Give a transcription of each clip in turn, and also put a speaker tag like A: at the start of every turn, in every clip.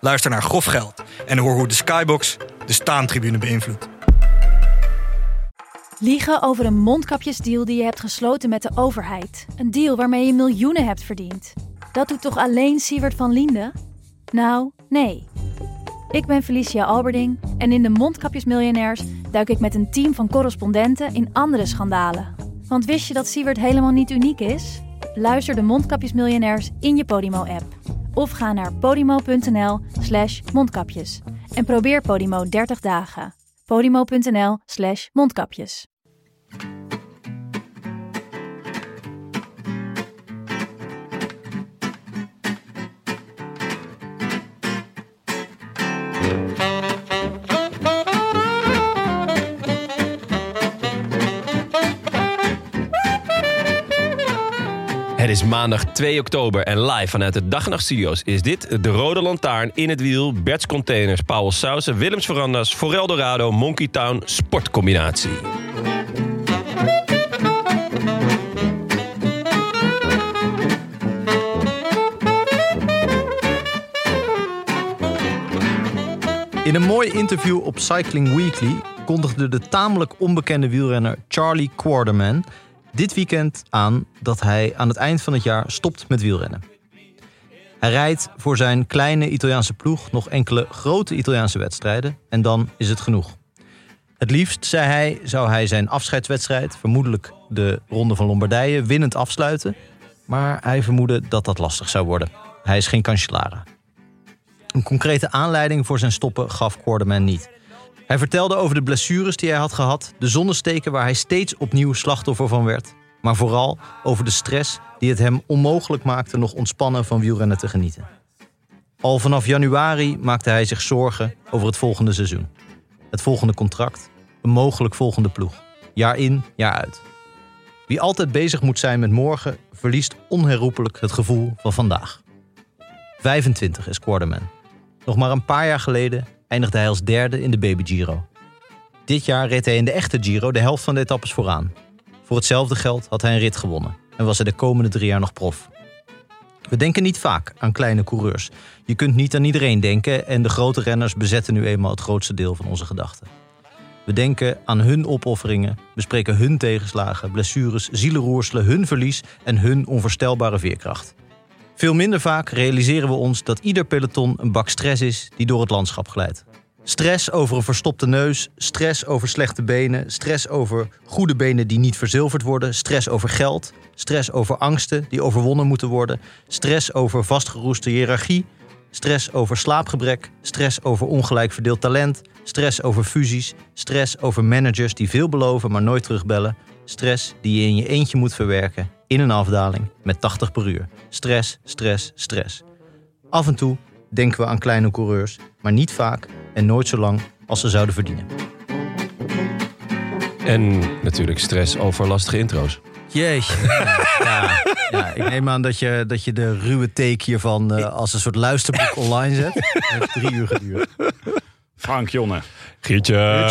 A: Luister naar Grof Geld en hoor hoe de Skybox de staantribune beïnvloedt.
B: Liegen over een mondkapjesdeal die je hebt gesloten met de overheid. Een deal waarmee je miljoenen hebt verdiend. Dat doet toch alleen Siewert van Linden? Nou, nee. Ik ben Felicia Alberding en in de Mondkapjesmiljonairs duik ik met een team van correspondenten in andere schandalen. Want wist je dat Siewert helemaal niet uniek is? Luister de Mondkapjesmiljonairs in je Podimo-app. Of ga naar podimo.nl slash mondkapjes. En probeer Podimo 30 dagen. podimo.nl slash mondkapjes.
C: Het is maandag 2 oktober en live vanuit de Dag en Nacht Studio's is dit De Rode Lantaarn, In het Wiel, Bert's Containers, Paul Sausen, Willems Verandas, Forel Dorado, Monkey Town, Sportcombinatie.
D: In een mooi interview op Cycling Weekly kondigde de tamelijk onbekende wielrenner Charlie Quarterman dit weekend aan dat hij aan het eind van het jaar stopt met wielrennen. Hij rijdt voor zijn kleine Italiaanse ploeg nog enkele grote Italiaanse wedstrijden en dan is het genoeg. Het liefst, zei hij, zou hij zijn afscheidswedstrijd, vermoedelijk de Ronde van Lombardije, winnend afsluiten. Maar hij vermoedde dat dat lastig zou worden. Hij is geen cancellara. Een concrete aanleiding voor zijn stoppen gaf Quarterman niet. Hij vertelde over de blessures die hij had gehad, de zonnesteken waar hij steeds opnieuw slachtoffer van werd, maar vooral over de stress die het hem onmogelijk maakte nog ontspannen van wielrennen te genieten. Al vanaf januari maakte hij zich zorgen over het volgende seizoen. Het volgende contract, een mogelijk volgende ploeg. Jaar in, jaar uit. Wie altijd bezig moet zijn met morgen, verliest onherroepelijk het gevoel van vandaag. 25 is Quarterman. Nog maar een paar jaar geleden eindigde hij als derde in de Baby Giro. Dit jaar reed hij in de echte Giro de helft van de etappes vooraan. Voor hetzelfde geld had hij een rit gewonnen en was hij de komende drie jaar nog prof. We denken niet vaak aan kleine coureurs. Je kunt niet aan iedereen denken en de grote renners bezetten nu eenmaal het grootste deel van onze gedachten. We denken aan hun opofferingen, bespreken hun tegenslagen, blessures, zielenroerselen, hun verlies en hun onvoorstelbare veerkracht. Veel minder vaak realiseren we ons dat ieder peloton een bak stress is die door het landschap glijdt. Stress over een verstopte neus, stress over slechte benen, stress over goede benen die niet verzilverd worden, stress over geld, stress over angsten die overwonnen moeten worden, stress over vastgeroeste hiërarchie, stress over slaapgebrek, stress over ongelijk verdeeld talent, stress over fusies, stress over managers die veel beloven maar nooit terugbellen, stress die je in je eentje moet verwerken in een afdaling met 80 per uur. Stress, stress, stress. Af en toe denken we aan kleine coureurs, maar niet vaak en nooit zo lang als ze zouden verdienen.
C: En natuurlijk stress over lastige intro's.
D: Jeetje. Ja, ja, ik neem aan dat je, dat je de ruwe take hiervan eh, als een soort luisterboek online zet. Het heeft drie uur geduurd.
E: Frank Jonne. Eh,
C: Gietje.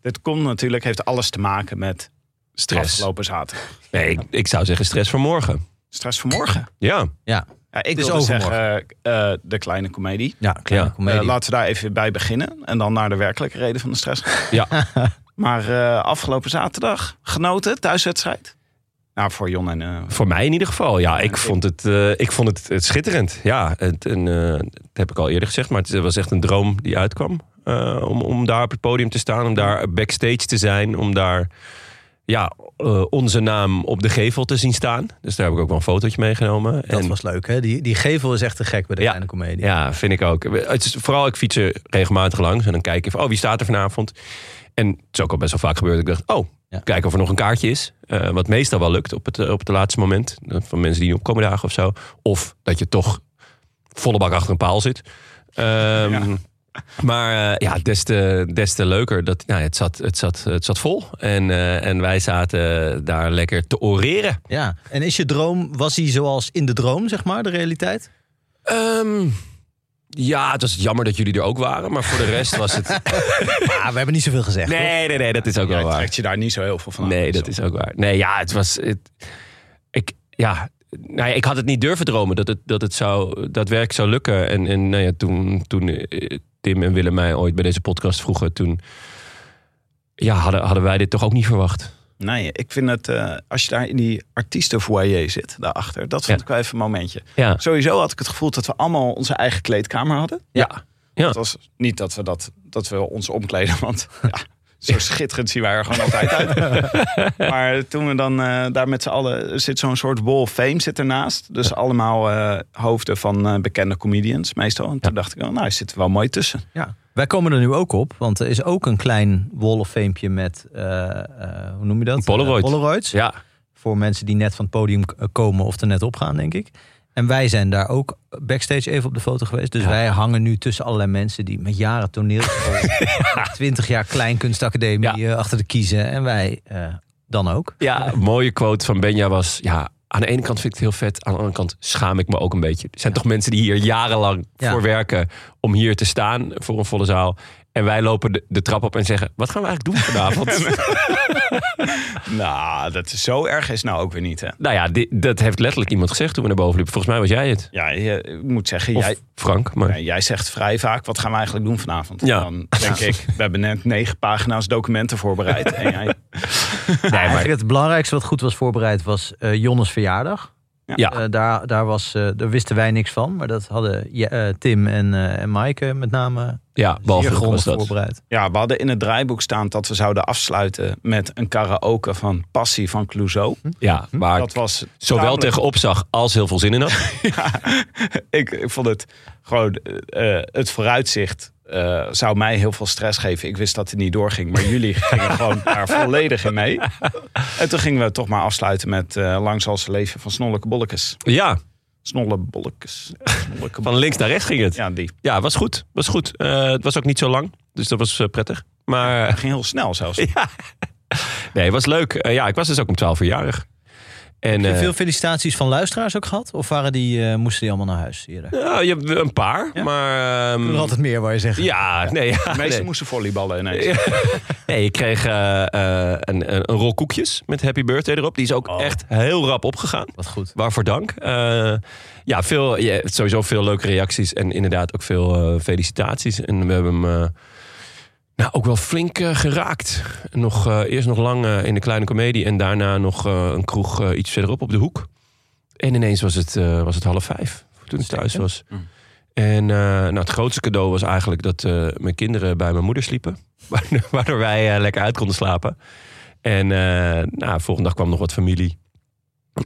E: Dit komt natuurlijk, heeft alles te maken met
C: Stress.
E: afgelopen zaterdag.
C: Nee, ik, ik zou zeggen stress voor morgen.
E: Stress vanmorgen.
C: Ja,
D: Ja,
E: Ja, ik
D: is
E: wilde
D: overmorgen.
E: zeggen, eh, eh, de kleine komedie.
D: ja kleine
C: Ja,
D: comedie.
E: Eh, laten we daar even bij beginnen. En dan naar de werkelijke reden van de stress.
C: ja.
E: Maar eh, afgelopen zaterdag, genoten, thuiswedstrijd. Nou, voor Jon en... eh,
C: voor mij in ieder geval. Ja, ik
E: ik-
C: vond het, eh, ik vond het, het schitterend. Ja, het, en, eh, dat heb ik al eerder gezegd, maar het was echt een droom die uitkwam. eh, om, om daar op het podium te staan, om daar backstage te zijn, om daar ja, eh, onze naam op de gevel te zien staan. Dus daar heb ik ook wel een fotootje meegenomen.
D: dat
C: En-
D: was leuk, hè? Die, die gevel is echt te gek bij de
C: Ja.
D: kleine comedie.
C: ja, vind ik ook. Het is, vooral, ik fiets er regelmatig langs en dan kijk ik van, oh, wie staat er vanavond? En het is ook al best wel vaak gebeurd. Ik dacht, oh,
D: Ja.
C: kijk of er nog een kaartje is. Eh, wat meestal wel lukt op het, op het laatste moment. Eh, Van mensen die niet opkomen dagen of zo. Of dat je toch volle bak achter een paal zit. Ehm, Maar eh, ja, des te, des te leuker. Dat, nou, ja, het, zat, het, zat, het zat vol. En, eh, en wij zaten daar lekker te oreren.
D: Ja. En is je droom, was die zoals in de droom, zeg maar, de realiteit?
C: Ehm, ja, het was jammer dat jullie er ook waren. Maar voor de rest was het...
D: Ja, we hebben niet zoveel gezegd.
C: Nee, nee, nee, dat is ook wel
E: Jij
C: waar.
E: trekt je daar niet zo heel veel van aan.
C: Nee, dat
E: Zo.
C: is ook waar. Nee, ja, het was. Het, ik, ja, nou ja, ik had het niet durven dromen dat het, dat het zou, dat werk zou lukken. En, en nou ja, toen, toen eh, Tim en Willem mij ooit bij deze podcast vroegen, toen ja, hadden, hadden wij dit toch ook niet verwacht.
E: Nee, ik vind het, eh, als je daar in die artiestenfoyer zit, daarachter, dat vond
C: Ja.
E: ik wel even een momentje.
C: Ja,
E: Sowieso had ik het gevoel dat we allemaal onze eigen kleedkamer hadden.
C: ja.
E: Het was niet dat we, dat, dat we ons omkleden, want ja, zo schitterend zien wij er gewoon altijd uit. maar toen we dan eh, daar met z'n allen, er zit zo'n soort wall of fame zit ernaast. Dus allemaal eh, hoofden van eh, bekende comedians meestal. En toen dacht ik, wel, nou, zit er wel mooi tussen.
D: Ja. Wij komen er nu ook op, want er is ook een klein wall of famepje met, eh, eh, hoe noem je dat?
C: Een Polaroid.
D: Eh, Polaroids.
C: ja.
D: Voor mensen die net van het podium k- eh, komen of er net op gaan, denk ik. En wij zijn daar ook backstage even op de foto geweest. Dus wij hangen nu tussen allerlei mensen die met jaren toneel, 20 jaar kleinkunstacademie eh, achter de kiezen. En wij eh, dan ook.
C: Ja, een mooie quote van Benja was... Ja, aan de ene kant vind ik het heel vet. Aan de andere kant schaam ik me ook een beetje. Er zijn toch mensen die hier jarenlang
D: Ja.
C: voor werken... om hier te staan voor een volle zaal. En wij lopen de, de trap op en zeggen... wat gaan we eigenlijk doen vanavond?
E: Nou, dat is zo erg is nou ook weer niet, hè?
C: nou ja, di- dat heeft letterlijk iemand gezegd toen we naar boven liepen. Volgens mij was jij het.
E: Ja, je, ik moet zeggen,
C: Of
E: jij,
C: Frank, maar...
E: ja, jij zegt vrij vaak, wat gaan we eigenlijk doen vanavond?
C: Ja.
E: Dan denk ik, we hebben net negen pagina's documenten voorbereid. En jij,
D: Eigenlijk het belangrijkste wat goed was voorbereid was eh Jonnes verjaardag.
C: Ja.
D: Eh, daar, daar, was, eh, daar wisten wij niks van. Maar dat hadden je- eh, Tim en, eh en Maaike met name
C: Ja,
D: zeer
C: behalve was
D: grondig
C: dat.
D: voorbereid.
E: Ja, we hadden in het draaiboek staan dat we zouden afsluiten met een karaoke van Passie van Clouseau.
C: Ja, waar
E: Hm? Dat
C: ik
E: was
C: Hm. zowel
E: tamelijk-
C: tegenop zag als heel veel zin in had.
E: Ik, ik vond het gewoon eh, eh, het vooruitzicht. eh, zou mij heel veel stress geven. Ik wist dat het niet doorging, maar jullie gingen gewoon daar volledig in mee. En toen gingen we het toch maar afsluiten met eh Langs als leven van Snolleke Bollekes.
C: Ja,
E: Snolleke Bollekes. Snolleke
C: van links naar rechts ging het.
E: Ja, die.
C: Ja, was goed. Was goed. Eh, het was ook niet zo lang. Dus dat was eh, prettig. Maar...
E: Dat ging heel snel zelfs.
C: Nee, het was leuk. Eh, ja, ik was dus ook om 12 uur jarig. En, eh,
D: Veel felicitaties van luisteraars ook gehad? Of waren die, eh, moesten die allemaal naar huis? Hier?
C: ja, nou, je hebt een paar, maar... ehm,
D: Er altijd meer waar je zegt.
C: ja, nee, ja,
E: De meesten
C: nee.
E: moesten volleyballen ineens.
C: Nee, ik kreeg eh, eh, een, een, een rol koekjes met Happy Birthday erop. Die is ook echt heel rap opgegaan.
D: Wat goed.
C: Waarvoor dank. Eh, ja, veel, ja, sowieso veel leuke reacties. En inderdaad ook veel eh, felicitaties. En we hebben hem eh, nou, ook wel flink eh, geraakt. Nog, eh, eerst nog lang eh, in de kleine komedie. En daarna nog eh, een kroeg eh, iets verderop op de hoek. En ineens was het, eh, was het half vijf. Toen het thuis was.
E: Mm.
C: En eh, nou, het grootste cadeau was eigenlijk dat eh, mijn kinderen bij mijn moeder sliepen. Waardoor- Waardoor wij eh, lekker uit konden slapen. En eh, nou, volgende dag kwam nog wat familie.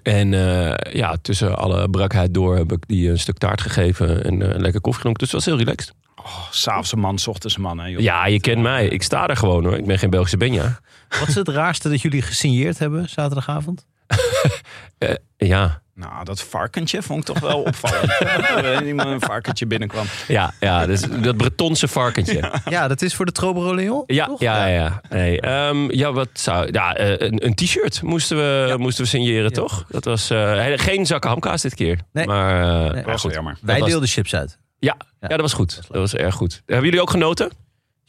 C: En eh, ja, tussen alle brakheid door heb ik die een stuk taart gegeven en eh, lekker koffie gedronken. Dus het was heel relaxed.
E: Oh, S'avonds een man, 's ochtends een man. Hè, joh.
C: Ja, je kent mij. Ik sta er gewoon hoor. Ik ben geen Belgische Benja.
D: Wat is het raarste dat jullie gesigneerd hebben zaterdagavond?
C: Ja,
E: Nou, dat varkentje vond ik toch wel opvallend. dat er iemand een varkentje binnenkwam.
C: ja, ja. Dus dat Bretonse varkentje.
D: Ja, dat is voor de Trobero Leon.
C: Ja,
D: toch?
C: ja, ja. ja. Nee, ehm, ja, wat zou, ja eh, een, een t-shirt moesten we, moesten we signeren, toch? Dat was eh, he- geen zakken hamkaas dit keer.
D: Nee.
C: Maar eh,
D: Nee.
E: Dat
C: ja,
E: was
C: goed.
E: wel jammer.
D: Wij
C: Dat was-
D: deelden chips uit.
C: Ja,
D: Ja.
C: ja, dat was goed. Dat was erg goed. Hebben jullie ook genoten?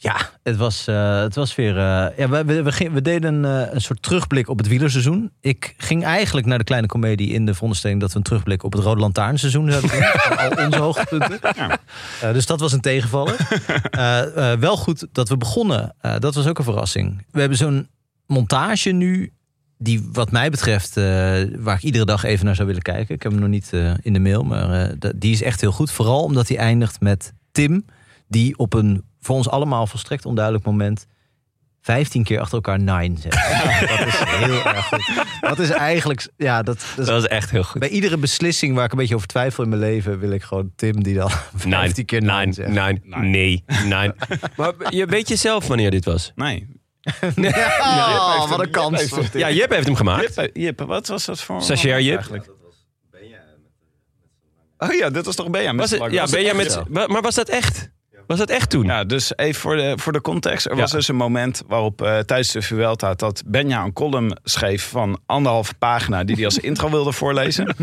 D: Ja, het was, eh, het was weer. eh, ja, we, we, we, ging- we deden eh, een soort terugblik op het wielerseizoen. Ik ging eigenlijk naar de kleine komedie in de veronderstelling dat we een terugblik op het Rode Lantaarnseizoen zouden doen. Van al onze hoogtepunten.
E: Ja.
D: Eh, dus dat was een tegenvaller. Eh, eh, wel goed dat we begonnen. Eh, dat was ook een verrassing. We hebben zo'n montage nu. Die wat mij betreft, eh, waar ik iedere dag even naar zou willen kijken. Ik heb hem nog niet eh, in de mail, maar eh, da- die is echt heel goed. Vooral omdat hij eindigt met Tim die op een voor ons allemaal volstrekt onduidelijk moment 15 keer achter elkaar nine zet. dat is heel erg goed. Dat is eigenlijk, ja, dat, dat is-
C: Dat was echt heel goed.
D: bij iedere beslissing waar ik een beetje over twijfel in mijn leven, wil ik gewoon Tim die dan 15
C: Nine,
D: keer nine, zegt.
C: nine,
E: Nee.
C: nee, nine. maar je weet jezelf wanneer dit was.
E: Nee.
D: Oh,
E: heeft
D: wat
E: hem-
D: een kans.
E: Jip heeft hem-
C: Ja, Jip heeft hem gemaakt.
E: Jippe, Jippe, eh, wat was dat voor...
C: Stagiair Jip.
E: Eigenlijk? Oh ja, dit was toch Benja met
C: Was
E: zijn
C: het,
E: lange-
C: ja,
E: was
C: ben jij
E: het-
C: met, wa- maar was dat echt? Was dat echt toen?
E: Ja, dus even voor de, voor de context. Er was
C: Ja.
E: dus een moment waarop eh, tijdens de Vuelta... dat Benja een column schreef van anderhalve pagina... die hij als intro wilde voorlezen.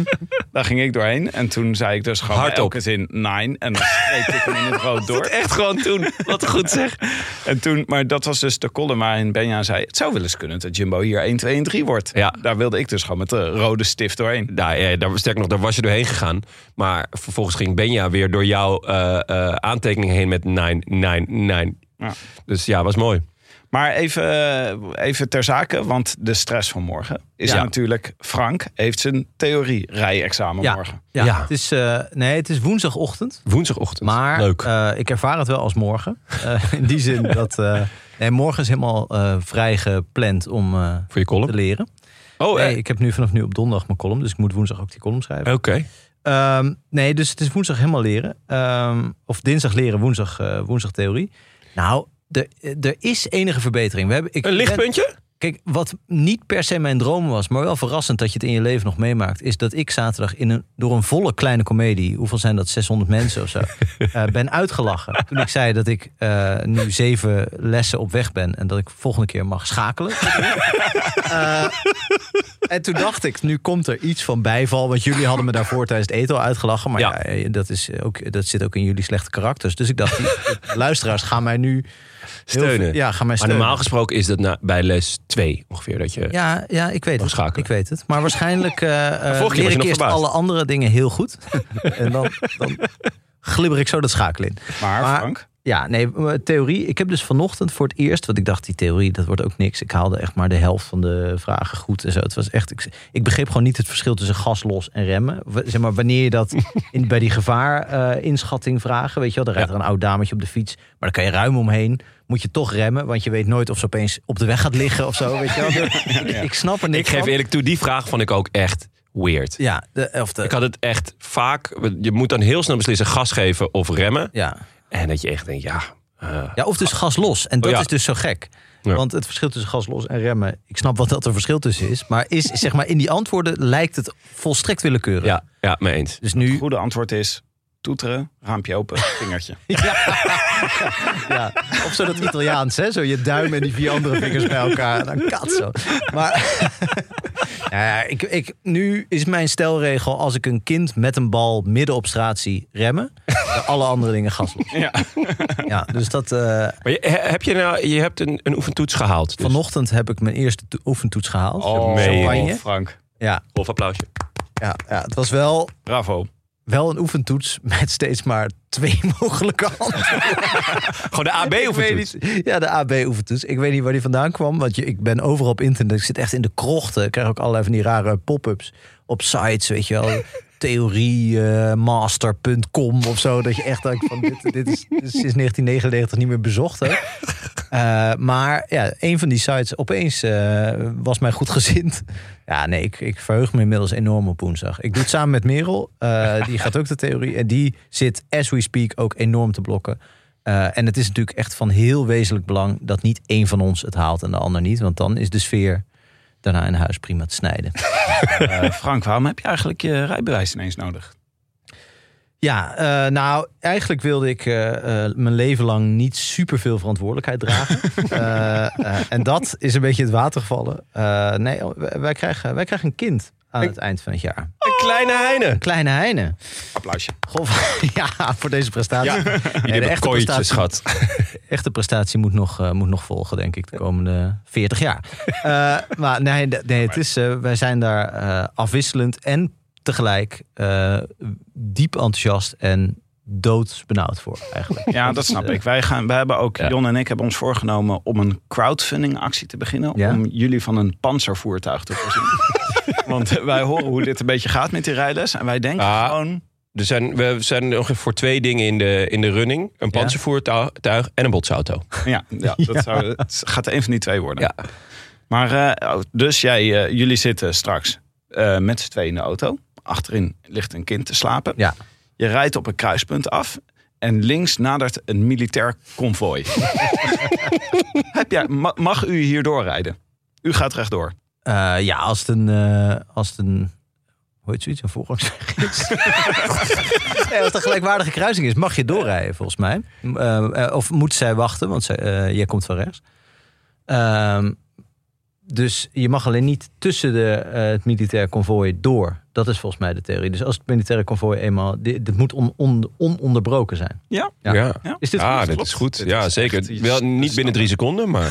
E: Daar ging ik doorheen. En toen zei ik dus gewoon
C: Hardop.
E: elke zin nine. En dan streep ik hem in het rood door.
C: Echt gewoon toen. Wat goed zeg.
E: En toen, maar dat was dus de column waarin Benja zei... het zou wel eens kunnen dat Jumbo hier 1, 2 en 3 wordt.
C: Ja.
E: Daar wilde ik dus gewoon met de rode stift doorheen.
C: Nou, ja, daar, sterk nog, daar was je doorheen gegaan. Maar vervolgens ging Benja weer door jouw eh, eh, aantekening heen met 999.
E: Ja.
C: Dus ja, was mooi.
E: Maar even, eh, even ter zake, want de stress van morgen is
C: Ja.
E: natuurlijk... Frank heeft zijn theorie-rijexamen
D: Ja.
E: morgen.
D: Ja,
C: Ja.
D: Het, is, eh, nee, het is woensdagochtend.
C: Woensdagochtend.
D: Maar
C: Leuk.
D: eh, ik ervaar het wel als morgen. Eh, in die zin dat... eh, nee, morgen is helemaal eh, vrij gepland om eh,
C: Voor je
D: te
C: column.
D: leren.
C: Oh, eh, Oh.
D: Nee, ik heb nu vanaf nu op donderdag mijn column. Dus ik moet woensdag ook die column schrijven.
C: oké.
D: Ehm, nee, dus het is woensdag helemaal leren. Ehm, of dinsdag leren, woensdag, eh, woensdag theorie. Nou, er- er is enige verbetering. We hebben, ik
C: Een
D: ben-
C: lichtpuntje?
D: Kijk, wat niet per se mijn droom was, maar wel verrassend dat je het in je leven nog meemaakt, is dat ik zaterdag in een, door een volle kleine komedie, hoeveel zijn dat, 600 mensen of zo, eh, ben uitgelachen. Toen ik zei dat ik eh, nu zeven lessen op weg ben en dat ik volgende keer mag schakelen. Eh, en toen dacht ik, nu komt er iets van bijval, want jullie hadden me daarvoor tijdens het eten al uitgelachen, maar
C: Ja.
D: ja, eh, dat, is ook, dat zit ook in jullie slechte karakters. Dus ik dacht, die, die luisteraars gaan mij nu heel veel-
C: Steunen.
D: Ja, gaan mij
C: Maar
D: steunen.
C: normaal gesproken is dat na, bij les 2 ongeveer dat je...
D: Ja, ja ik weet het.
C: schakelen.
D: Ik weet het. Maar waarschijnlijk eh eh,
C: was je
D: leer ik
C: nog
D: eerst
C: verbaasd.
D: alle andere dingen heel goed. en dan, dan glibber ik zo dat schakelen in.
E: Maar,
D: Maar-
E: Frank,
D: Ja, nee, maar theorie. Ik heb dus vanochtend voor het eerst, want ik dacht die theorie, dat wordt ook niks. Ik haalde echt maar de helft van de vragen goed en zo. Het was echt, ik, ik begreep gewoon niet het verschil tussen gaslos en remmen. W- Zeg maar, wanneer je dat in, bij die gevaar eh, inschatting vragen, weet je wel. Dan rijdt er een oud dametje op de fiets, maar daar kan je ruim omheen. Moet je toch remmen, want je weet nooit of ze opeens op de weg gaat liggen of zo, weet je wel. Ik snap er niks
C: Ik geef
D: van.
C: eerlijk toe, die vraag vond ik ook echt weird.
D: Ja, de, of de,
C: Ik had het echt vaak... Je moet dan heel snel beslissen gas geven of remmen.
D: ja.
C: En dat je echt denkt, ja... eh,
D: ja, of dus gas los. En dat
C: Oh ja.
D: is dus zo gek.
C: Ja.
D: Want het verschil tussen gas los en remmen, ik snap wat dat er verschil tussen is. Maar is, zeg maar, in die antwoorden lijkt het volstrekt willekeurig.
C: ja, ja, mee eens.
D: Dus
E: het
D: nu.
E: goede antwoord is... toeteren, raampje open, vingertje.
D: Ja, of zo dat Italiaans, hè? Zo je duim en die vier andere vingers bij elkaar. Dan kat zo. Maar. Nou ja, ik, ik, nu is mijn stelregel: als ik een kind met een bal midden op straat zie remmen, dan alle andere dingen gas los.
E: Ja.
D: Ja, dus dat. eh,
C: Maar je, he- heb je nou... Je hebt een, een oefentoets gehaald. Dus.
D: vanochtend heb ik mijn eerste to- oefentoets gehaald.
E: Oh,
C: meen je
E: champagne.
D: niet.
E: Frank.
D: Ja,
C: Of applausje.
D: Ja, ja het was wel,
E: Bravo.
D: wel een oefentoets met steeds maar twee mogelijke antwoorden.
C: Gewoon de AB
D: Ik weet
C: oefentoets.
D: niet- Ja, de AB-oefentoets. Ik weet niet waar die vandaan kwam, want je, ik ben overal op internet. Ik zit echt in de krochten. Ik krijg ook allerlei van die rare pop-ups op sites, weet je wel. eh, Theoriemaster.com of zo. Dat je echt denkt van, dit, dit is dit is sinds 1999 niet meer bezocht. Hè? Eh, maar ja, een van die sites opeens eh, was mij goed gezind. Ja, nee, ik, ik verheug me inmiddels enorm op woensdag. Ik doe het samen met Merel. eh, die gaat ook de theorie. En die zit, as we speak, ook enorm te blokken. Eh, en het is natuurlijk echt van heel wezenlijk belang dat niet één van ons het haalt en de ander niet. Want dan is de sfeer daarna in huis prima te snijden.
E: Eh, Frank, waarom heb je eigenlijk je rijbewijs ineens nodig?
D: Ja, eh, nou, eigenlijk wilde ik eh, eh, mijn leven lang niet superveel verantwoordelijkheid dragen. Eh, eh, en dat is een beetje het water gevallen. Eh, nee, oh, wij, wij krijgen, wij krijgen een kind aan het eind van het jaar.
C: Een kleine heine.
D: Een kleine Heine.
E: Applausje.
D: Goh, ja, voor deze prestatie.
C: Ja,
D: Nee, de echte
C: kooitje,
D: prestatie,
C: schat.
D: echte prestatie moet nog, eh, moet nog volgen, denk ik, de komende 40 jaar. Eh, maar nee, d- nee het is, eh, wij zijn daar eh, afwisselend en tegelijk eh, diep enthousiast en doodsbenauwd voor, eigenlijk.
E: Ja, dat
D: is,
E: snap
D: eh,
E: ik. Wij, gaan, wij hebben ook,
C: Ja.
E: Jon en ik hebben ons voorgenomen om een crowdfunding actie te beginnen.
D: Ja.
E: Om jullie van een panzervoertuig te voorzien. Want wij horen hoe dit een beetje gaat met die rijles. En wij denken
C: Ah.
E: gewoon,
C: Er zijn, we zijn nog voor twee dingen in de, in de running. Een
D: Ja.
C: panzervoertuig en een botsauto.
E: ja, ja, dat Zou, het gaat een van die twee worden.
C: Ja.
E: Maar eh, oh, dus jij, eh, jullie zitten straks eh, met z'n tweeën in de auto. Achterin ligt een kind te slapen.
D: Ja.
E: Je rijdt op een kruispunt af. En links nadert een militair konvooi. Heb jij, ma- mag u hierdoor rijden? U gaat rechtdoor.
D: Eh, ja, als het een, eh, als het een hoe heet zoiets, een voorrangsweg is. nee, als er gelijkwaardige kruising is, mag je doorrijden volgens mij. Eh, eh, of moet zij wachten, want zij, eh, jij komt van rechts. Ehm, dus je mag alleen niet tussen de, eh, het militair konvooi door. Dat is volgens mij de theorie. Dus als het militaire konvooi eenmaal... Dit, dit moet on- on- ononderbroken zijn.
E: Ja.
C: Ja, ja.
D: Is dit goed?
C: Ah, dit
E: Klopt.
C: is goed.
E: Dit
C: ja,
E: is echt
C: zeker.
E: iets-
C: Wel niet binnen drie seconden, maar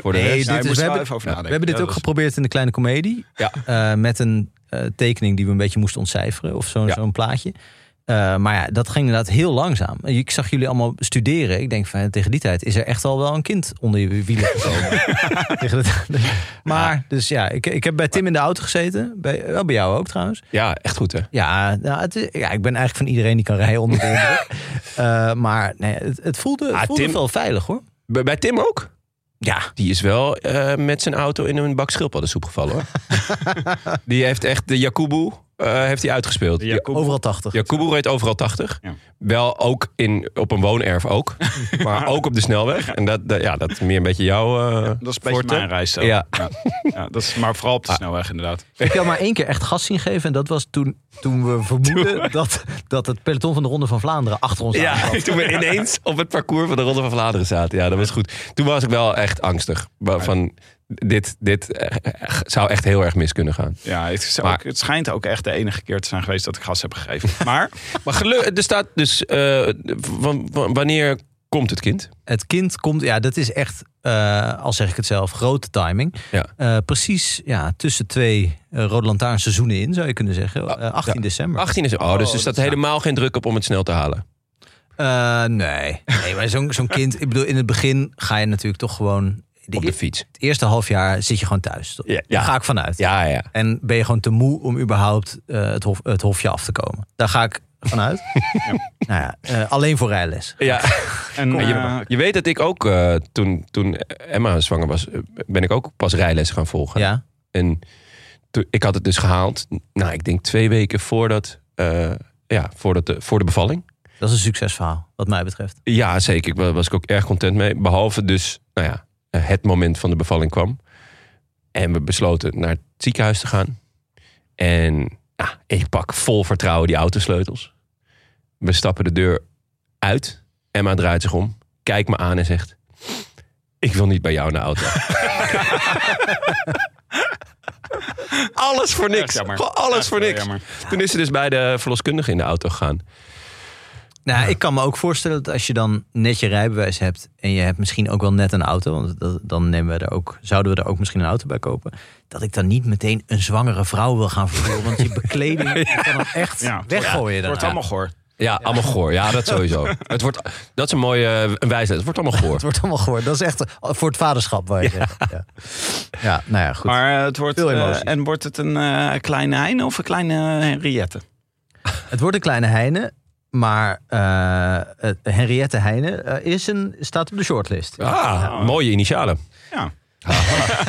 C: voor de
D: Nee,
C: rest.
D: dit
E: Ja, je
D: is- we
E: moet er wel
D: hebben-
E: even over
C: ja,
E: nadenken.
D: We hebben dit
C: Ja,
D: ook
C: dat is-
D: geprobeerd in de kleine komedie.
C: Ja.
D: Eh, met een eh, tekening die we een beetje moesten ontcijferen. Of zo'n
C: Ja.
D: zo'n plaatje. Eh, maar ja, dat ging inderdaad heel langzaam. Ik zag jullie allemaal studeren. Ik denk van ja, tegen die tijd is er echt al wel een kind onder je wielen gekomen. Tegen de tijd. maar dus ja, ik, ik heb bij Tim in de auto gezeten. Bij, wel bij jou ook trouwens.
C: Ja, echt goed hè.
D: Ja, nou, het is- ja, ik ben eigenlijk van iedereen die kan rijden onder de indruk. Eh, maar nee, het, het voelde, het
C: Ah,
D: voelde
C: Tim-
D: wel veilig hoor.
C: Bij, bij Tim ook?
D: Ja,
C: Die is wel eh, met zijn auto in een bak schildpaddensoep gevallen hoor. die heeft echt de Jakubu eh, heeft hij uitgespeeld.
E: De Jacob-
D: overal 80.
C: Jakubu reed overal 80.
E: Ja.
C: Wel ook in, op een woonerf ook. maar ook op de snelweg. En dat, dat- ja, dat is meer een beetje jouw eh
E: Dat is een beetje
C: forte.
E: mijn reis. zo.
C: Ja.
E: Ja. Ah. Ja, dat is maar vooral op de snelweg inderdaad.
D: Ik heb jou maar één keer echt gas zien geven. En dat was toen, toen we vermoeden dat, dat het peloton van de Ronde van Vlaanderen achter
E: eh,
D: ons aan
C: Ja,
D: zat.
C: toen we ineens op het parcours van de Ronde van Vlaanderen zaten. Ja, dat was goed. Toen was ik wel echt angstig. Wa- Van, dit, dit eh, eh, zou echt heel erg mis kunnen gaan.
E: Ja, het, is
C: Maar-
E: ook- het schijnt ook echt de enige keer te zijn geweest dat ik gas heb gegeven. Maar
C: Maar gelukkig, er staat dus... eh, w- w- wanneer komt het kind?
D: Het kind komt, ja, dat is echt, eh, al zeg ik het zelf, grote timing.
C: Ja.
D: Eh, precies ja, tussen twee eh Rode Lantaarn seizoenen in, zou je kunnen zeggen. Eh, 18
C: Ah, ja.
D: december.
C: 18 is... Oh, dus er staat helemaal geen druk op om het snel te halen. Ah.
D: Eh, nee. nee, maar zo'n zo'n kind, ik bedoel, in het begin ga je natuurlijk toch gewoon... de
C: Op
D: eer-
C: de fiets.
D: het eerste half jaar zit je gewoon thuis.
C: Ja, ja.
D: Daar ga ik vanuit.
C: Ja, ja.
D: En ben je gewoon te moe om überhaupt eh, het, hof, het hofje af te komen? Daar ga ik vanuit. Nou ja, eh, alleen voor rijles.
C: ja.
E: en,
C: Maar
E: eh,
C: je, je weet dat ik ook, eh, toen, toen Emma zwanger was, eh, ben ik ook pas rijles gaan volgen.
D: Ja.
C: En toen, ik had het dus gehaald, nou, ik denk twee weken voordat, eh, ja, voordat de, voor de bevalling.
D: Dat is een succesverhaal, wat mij betreft.
C: Ja, zeker. Ik wa- was ik ook erg content mee. Behalve dus, nou ja, eh, het moment van de bevalling kwam. En we besloten naar het ziekenhuis te gaan. En ja, ik pak vol vertrouwen die autosleutels. We stappen de deur uit. Emma draait zich om, kijkt me aan en zegt... Ik wil niet bij jou in de auto. alles voor
E: Erg
C: niks.
E: jammer.
C: Gewoon alles
E: Ja,
C: voor
E: heel
C: niks.
E: jammer.
C: Toen is ze dus bij de verloskundige in de auto gegaan.
D: Nou, ik kan me ook voorstellen dat als je dan net je rijbewijs hebt en je hebt misschien ook wel net een auto, want dat- dan nemen we er ook, zouden we er ook misschien een auto bij kopen, dat ik dan niet meteen een zwangere vrouw wil gaan vervoeren, want je bekleding je kan hem echt
E: eh, Ja,
D: weggooien.
E: Het
D: daarna.
E: wordt allemaal goor.
C: Ja, allemaal goor. Ja, dat sowieso. het wordt, dat is een mooie eh, een wijsheid. Het wordt allemaal goor.
D: Het wordt allemaal gehoord. Dat is echt voor het vaderschap waar je zegt. Ja. ja, nou ja, goed.
E: Maar eh, het wordt,
D: Veel
E: eh,
D: emoties.
E: en wordt het een eh, kleine Heine of een kleine eh, Henriette?
D: Het wordt een kleine Heine, maar eh, eh, Henriette Heine eh, is een, staat op de shortlist.
C: Ah, mooie initialen.
E: Ja.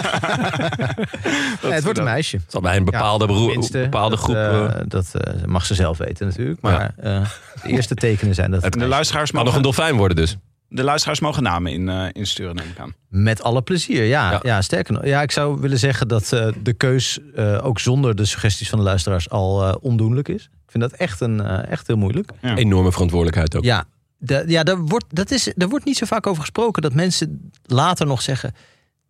D: Nee, Eh, het wordt een meisje.
C: Het zal bij een bepaalde, beroe-
D: Tenminste,
C: bepaalde
D: dat,
C: groep...
D: eh,
C: eh,
D: dat eh, mag ze zelf weten natuurlijk.
C: Ja.
D: Maar eh, de eerste tekenen zijn dat.
E: En de luisteraars
C: kan nog
E: mogen,
C: een dolfijn worden dus.
E: de luisteraars mogen namen in, eh, insturen, neem ik aan.
D: Met alle plezier, ja. ja.
C: Ja.
D: sterker nog. Ja, ik zou willen zeggen dat eh, de keus eh, ook zonder de suggesties van de luisteraars al eh, ondoenlijk is. Ik vind dat echt, een, eh, echt heel moeilijk.
E: Ja.
C: Enorme verantwoordelijkheid ook.
D: Ja, da- ja daar, wordt, dat is, daar wordt niet zo vaak over gesproken dat mensen later nog zeggen: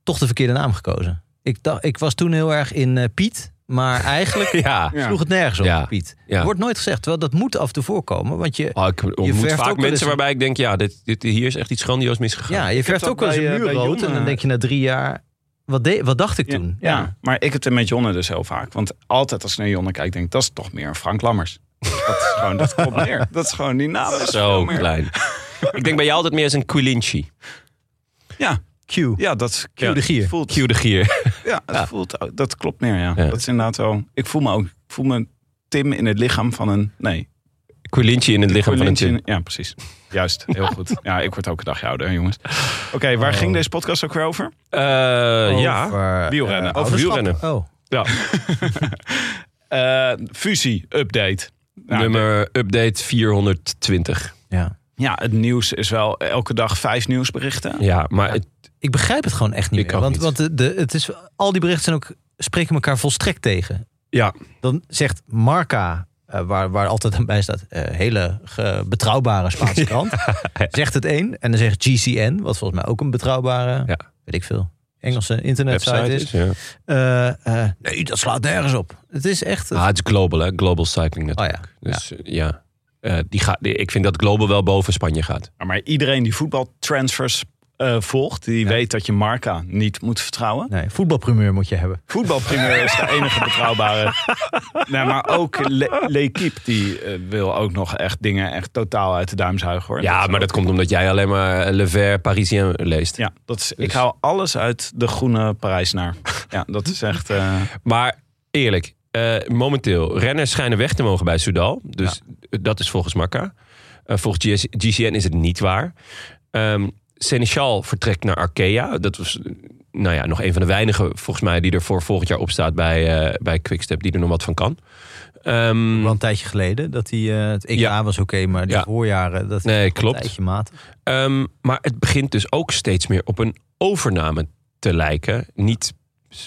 D: toch de verkeerde naam gekozen. Ik, dacht, ik was toen heel erg in eh, Piet, maar eigenlijk
C: Ja.
E: Ja.
D: sloeg het nergens op,
C: Ja.
D: Piet.
C: Ja.
D: Wordt nooit gezegd, terwijl dat moet af en toe voorkomen. Want je,
C: Oh, ik ontmoet
D: verft ook
C: vaak
D: wel eens
C: mensen
D: een-
C: waarbij ik denk... Ja, dit, dit, hier is echt iets grandioos misgegaan.
D: ja, je verft
E: dat
D: ook wel eens
E: bij,
D: een
E: eh,
D: muur
E: bij
D: rood en dan
E: jongen.
D: denk je na drie jaar: wat, de, wat dacht ik toen?
E: Ja, maar ik heb het met Jonne dus heel vaak. Want altijd als ik naar Jonne kijk, denk ik, dat is toch meer een Frank Lammers. Dat is gewoon, dat komt neer. Dat is gewoon die naam. is
C: Zo
E: veel meer.
C: klein. Ik denk bij jou altijd meer als een Quilinci.
E: Ja,
D: Q.
E: ja, dat is
D: de Gier.
E: Voelt,
C: Q de Gier.
E: Ja, dat, Voelt, ook- dat klopt meer, ja.
C: Ja.
E: Dat is inderdaad wel... Ik voel me ook... Ik voel me Tim in het lichaam van een... Nee,
C: Quilinci in het lichaam van een
E: Colinci
C: tin.
E: in- Ja, precies. Juist, heel goed. Ja, ik word ook een dagje ouder, hè, jongens. Oké, waar
D: Oh.
E: ging deze podcast ook weer over?
C: Eh, ja,
D: Over,
E: wielrennen.
D: eh,
C: Over wielrennen.
D: Oh.
C: ja.
E: Eh, fusie, update. Nou,
C: nummer update 420.
D: Ja.
E: Ja, het nieuws is wel elke dag vijf nieuwsberichten.
C: Ja, maar het,
D: Ik begrijp het gewoon echt niet
C: Ik
D: meer.
C: ook
D: Want,
C: niet.
D: want de, de, het is, al die berichten zijn ook, spreken elkaar volstrekt tegen.
C: Ja,
D: Dan zegt Marca, eh, waar, waar altijd aan bij staat, eh, hele ge- betrouwbare Spaanse krant. Zegt het één. En dan zegt GCN, wat volgens mij ook een betrouwbare,
C: Ja.
D: weet ik veel, Engelse internetsite
C: website
D: is.
C: is. Ja.
D: Eh, eh, nee, dat slaat nergens op. Het is echt...
C: Ah, het is global, hè? Global Cycling
D: oh
C: Network.
D: ja.
C: Dus eh, ja, Eh, die gaat, die- ik vind dat Global wel boven Spanje gaat.
E: Ja, Maar iedereen die voetbaltransfers eh, volgt, die weet dat je Marca niet moet vertrouwen.
D: Nee, voetbalprimeur moet je hebben.
E: Voetbalprimeur is de enige betrouwbare. Nee, maar ook Le- L'Equipe, die eh, wil ook nog echt dingen echt totaal uit de duim zuigen. Hoor.
C: Ja,
E: is
C: maar
E: ook-
C: dat komt omdat jij alleen maar Le Ver Parisien eh, leest.
E: Ja, dat is, ik
C: Dus-
E: hou alles uit de groene Parijsnaar. Ja, dat is echt... eh,
C: Maar eerlijk, eh, momenteel, renners schijnen weg te mogen bij Soudal. Dus dat is volgens Marca. Eh, volgens GS GCN is het niet waar. Ehm Seneschal vertrekt naar Arkea. Dat was eh, nou ja, nog een van de weinigen volgens mij die er voor volgend jaar op staat bij, eh, bij Quickstep. Die er nog wat van kan. Ehm,
D: Wel een tijdje geleden dat hij eh, het EK
C: Ja.
D: was oké, maar die
C: Ja.
D: voorjaren dat
C: Nee,
D: is een
C: klopt.
D: tijdje matig.
C: Ehm, maar het begint dus ook steeds meer op een overname te lijken. Niet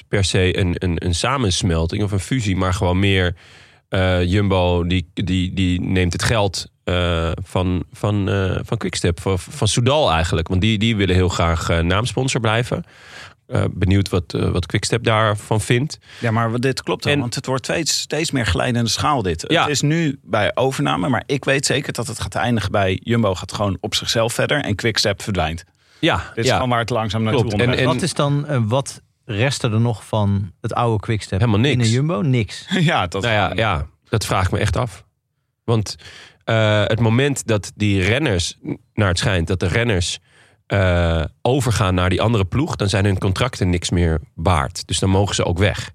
C: per se een, een, een samensmelting of een fusie, maar gewoon meer eh, Jumbo die, die, die neemt het geld eh, van, van, eh, van Quickstep, van, van Soudal eigenlijk. Want die, die willen heel graag eh, naamsponsor blijven. Eh, benieuwd wat, eh, wat Quickstep daarvan vindt.
E: Ja, maar dit klopt wel,
C: En-
E: want het wordt steeds, steeds meer glijdende schaal dit.
C: Ja.
E: Het is nu bij overname, maar ik weet zeker dat het gaat eindigen bij... Jumbo gaat gewoon op zichzelf verder en Quickstep verdwijnt.
C: Ja,
E: Dit is
C: ja
E: gewoon waar het langzaam naartoe
C: Klopt.
E: onderweg
C: En-
D: Wat is dan, eh, wat restte er nog van het oude Quickstep?
C: helemaal niks.
D: In een Jumbo? Niks.
E: Ja, dat
C: Nou ja, ja, dat vraag ik me echt af. Want eh, het moment dat die renners, naar het schijnt, dat de renners eh, overgaan naar die andere ploeg, dan zijn hun contracten niks meer waard. Dus dan mogen ze ook weg.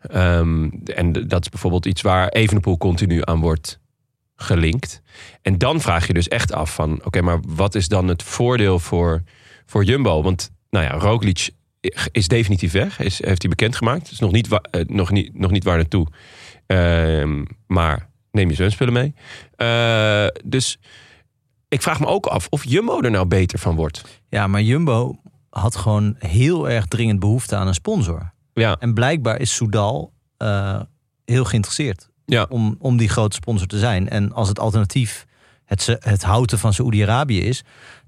C: Ehm, en d- dat is bijvoorbeeld iets waar Evenepoel continu aan wordt gelinkt. En dan vraag je dus echt af van, oké, maar wat is dan het voordeel voor, voor Jumbo? Want, nou ja, Roglic is definitief weg, is, heeft hij bekendgemaakt. Het is nog niet, wa- eh, nog niet, nog niet waar naartoe. Ehm, maar neem je zwemspullen mee. Eh, dus ik vraag me ook af of Jumbo er nou beter van wordt.
D: Ja, maar Jumbo had gewoon heel erg dringend behoefte aan een sponsor.
C: Ja,
D: En blijkbaar is Soudal eh, heel geïnteresseerd
C: Ja.
D: om, om die grote sponsor te zijn. En als het alternatief het, ze- het houten van Saoedi-Arabië is,